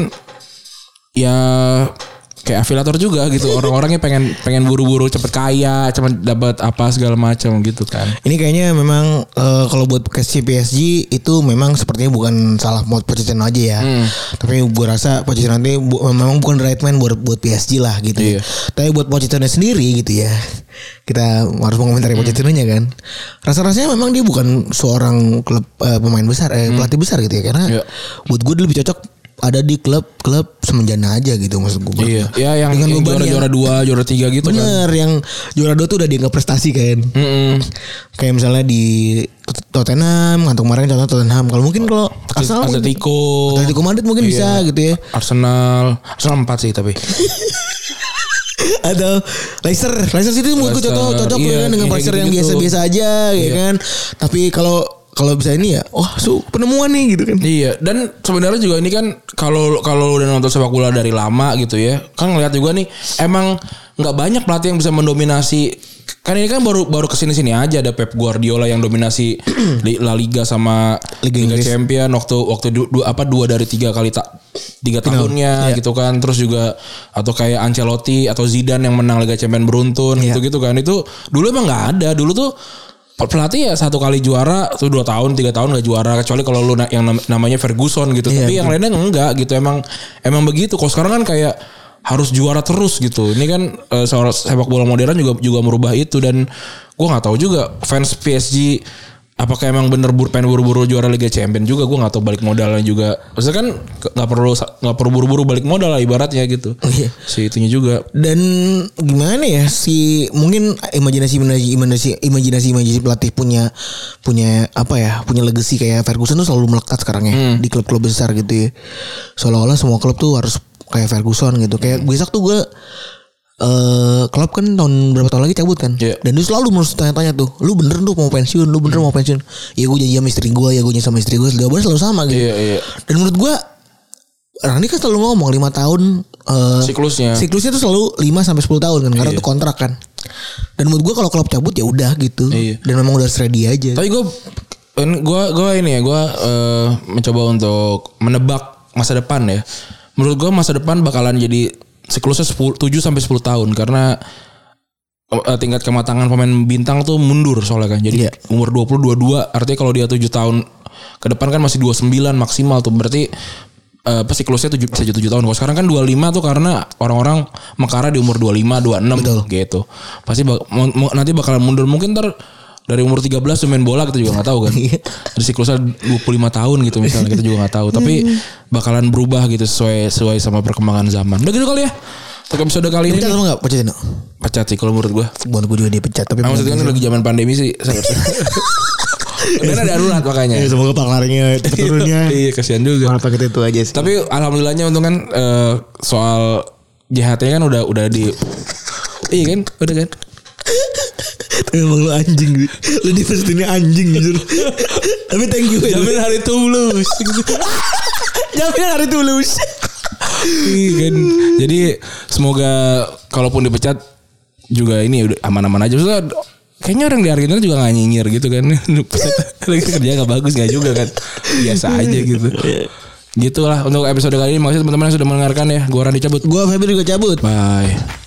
Speaker 2: ya kayak afilator juga gitu orang-orangnya pengen pengen buru-buru cepet kaya cepet dapat apa segala macam gitu kan
Speaker 3: Ini kayaknya memang eh, kalau buat podcast PSG itu memang sepertinya bukan salah mod Pochettino aja ya.
Speaker 2: Hmm.
Speaker 3: Tapi gue rasa Pochettino nanti bu- memang bukan the right man buat buat PSG lah gitu.
Speaker 2: Iya.
Speaker 3: ya. Tapi buat Pochettino sendiri gitu ya. Kita harus mengomentari
Speaker 2: Hmm.
Speaker 3: Pochettino-nya kan. Rasa-rasanya memang dia bukan seorang klub eh, pemain besar eh pelatih besar gitu ya karena
Speaker 2: Hmm. Iya.
Speaker 3: buat gue dia lebih cocok ada di klub-klub semenjana aja gitu maksud gue.
Speaker 2: iya ya yang,
Speaker 3: Dengan
Speaker 2: yang
Speaker 3: beban
Speaker 2: juara
Speaker 3: yang-
Speaker 2: juara dua juara tiga gitu kan Hmm.
Speaker 3: Bener yang juara dua tuh udah dianggap prestasi kan.
Speaker 2: Mm-mm.
Speaker 3: Kayak misalnya di Tottenham atau kemarin contoh Tottenham kalau mungkin kalau Arsenal mungkin-
Speaker 2: Atletico Iya.
Speaker 3: Atletico Madrid mungkin bisa gitu ya
Speaker 2: Arsenal Arsenal 4 sih tapi
Speaker 3: atau Leicester Leicester City menurutku
Speaker 2: Leicester,
Speaker 3: cocok cocok
Speaker 2: iya,
Speaker 3: ya kan dengan
Speaker 2: kayak
Speaker 3: Leicester yang
Speaker 2: gitu-gitu. Iya.
Speaker 3: biasa-biasa aja ya kan tapi kalau kalau bisa ini ya wah su penemuan nih gitu kan
Speaker 2: Iya, dan sebenarnya juga ini kan kalau kalau udah nonton sepak bola dari lama gitu ya, kan ngeliat juga nih emang nggak banyak pelatih yang bisa mendominasi. Kan ini kan baru baru kesini sini aja ada Pep Guardiola yang dominasi <clears throat> di La Liga sama
Speaker 3: Liga
Speaker 2: Liga,
Speaker 3: Inggris.
Speaker 2: Champion waktu waktu du- dua, apa dua dari tiga kali tak tiga tahunnya
Speaker 3: Iya.
Speaker 2: gitu kan terus juga atau kayak Ancelotti atau Zidane yang menang Liga Champion beruntun
Speaker 3: Iya.
Speaker 2: gitu-gitu kan itu dulu emang nggak ada dulu tuh pelatih ya satu kali juara tuh dua tahun tiga tahun nggak juara kecuali kalau lu na- yang nam- namanya Ferguson gitu
Speaker 3: Iya,
Speaker 2: tapi yang lainnya enggak gitu emang emang begitu kalau sekarang kan kayak harus juara terus gitu ini kan eh, soal sepak bola modern juga juga merubah itu dan gua nggak tahu juga fans PSG apakah emang bener bur pengen buru-buru juara Liga Champion juga gua nggak tahu balik modalnya juga maksudnya kan nggak perlu nggak perlu buru-buru balik modal lah ibaratnya gitu
Speaker 3: Iya.
Speaker 2: si itunya juga
Speaker 3: dan gimana ya si mungkin imajinasi imajinasi imajinasi imajinasi pelatih punya punya apa ya punya legacy kayak Ferguson tuh selalu melekat sekarang ya
Speaker 2: Hmm.
Speaker 3: di klub-klub besar gitu ya seolah-olah semua klub tuh harus kayak Ferguson gitu kayak
Speaker 2: Hmm.
Speaker 3: besok tuh gue eh klub kan tahun berapa tahun lagi cabut kan
Speaker 2: Iya. Hmm.
Speaker 3: dan dia selalu terus tanya-tanya tuh lu bener tuh mau pensiun lu bener mau pensiun ya gue janji sama istri gue ya gue janji sama istri gue jawabannya selalu sama gitu
Speaker 2: Iya, iya.
Speaker 3: dan menurut gue Rani kan selalu ngomong lima tahun eh,
Speaker 2: Siklusnya.
Speaker 3: siklusnya tuh selalu 5 sampai 10 tahun kan karena
Speaker 2: Iya.
Speaker 3: itu kontrak kan. Dan menurut gua kalau klub cabut ya udah gitu.
Speaker 2: Iya.
Speaker 3: Dan memang udah ready aja.
Speaker 2: Tapi gue gue gue ini ya gue mencoba untuk menebak masa depan ya. Menurut gue masa depan bakalan jadi siklusnya 10, 7 sampai 10 tahun karena eh, tingkat kematangan pemain bintang tuh mundur soalnya kan. Jadi
Speaker 3: Iya.
Speaker 2: umur 20 22 artinya kalau dia 7 tahun ke depan kan masih 29 maksimal tuh berarti eh, apa siklusnya 7 bisa jadi 7 tahun. Kalau sekarang kan 25 tuh karena orang-orang mekara di umur 25, 26 gitu. Pasti bak- mo- mo- nanti bakalan mundur mungkin ter dari umur 13 tuh main bola kita juga nggak tahu kan. Dari siklusnya 25 tahun gitu misalnya kita juga nggak tahu. Tapi bakalan berubah gitu sesuai sesuai sama perkembangan zaman. Udah gitu kali ya. Untuk episode kali ini
Speaker 3: Pecat sama enggak Pochettino?
Speaker 2: pecat sih kalau menurut gua.
Speaker 3: Buat gua juga dia pecat tapi
Speaker 2: Nah, maksudnya kan lagi zaman pandemi sih. seharusnya. Karena darurat makanya.
Speaker 3: Ya, semoga <laughs> pakarnya cepat turunnya.
Speaker 2: Iya kasihan juga.
Speaker 3: Malah pakai itu aja sih.
Speaker 2: Tapi alhamdulillahnya untung kan eh, soal JHT kan udah udah di Iya kan? Udah kan?
Speaker 3: Tapi emang lu
Speaker 2: <laughs>
Speaker 3: anjing. Wi. Lu di first ini anjing jujur. tapi thank you. ya. Jamin, <laughs>
Speaker 2: hari tulus.
Speaker 3: Jamin hari tulus.
Speaker 2: Iya kan? Jadi semoga kalaupun dipecat juga ini udah aman-aman aja. Maksudnya kayaknya orang di Argentina juga gak nyinyir gitu kan. <laughs> Lagi kerja gak bagus gak juga kan. Biasa aja gitu. Gitu lah untuk episode kali ini. Makasih teman-teman yang sudah mendengarkan ya. Gua Randy cabut.
Speaker 3: Gua Febri juga cabut.
Speaker 2: Bye.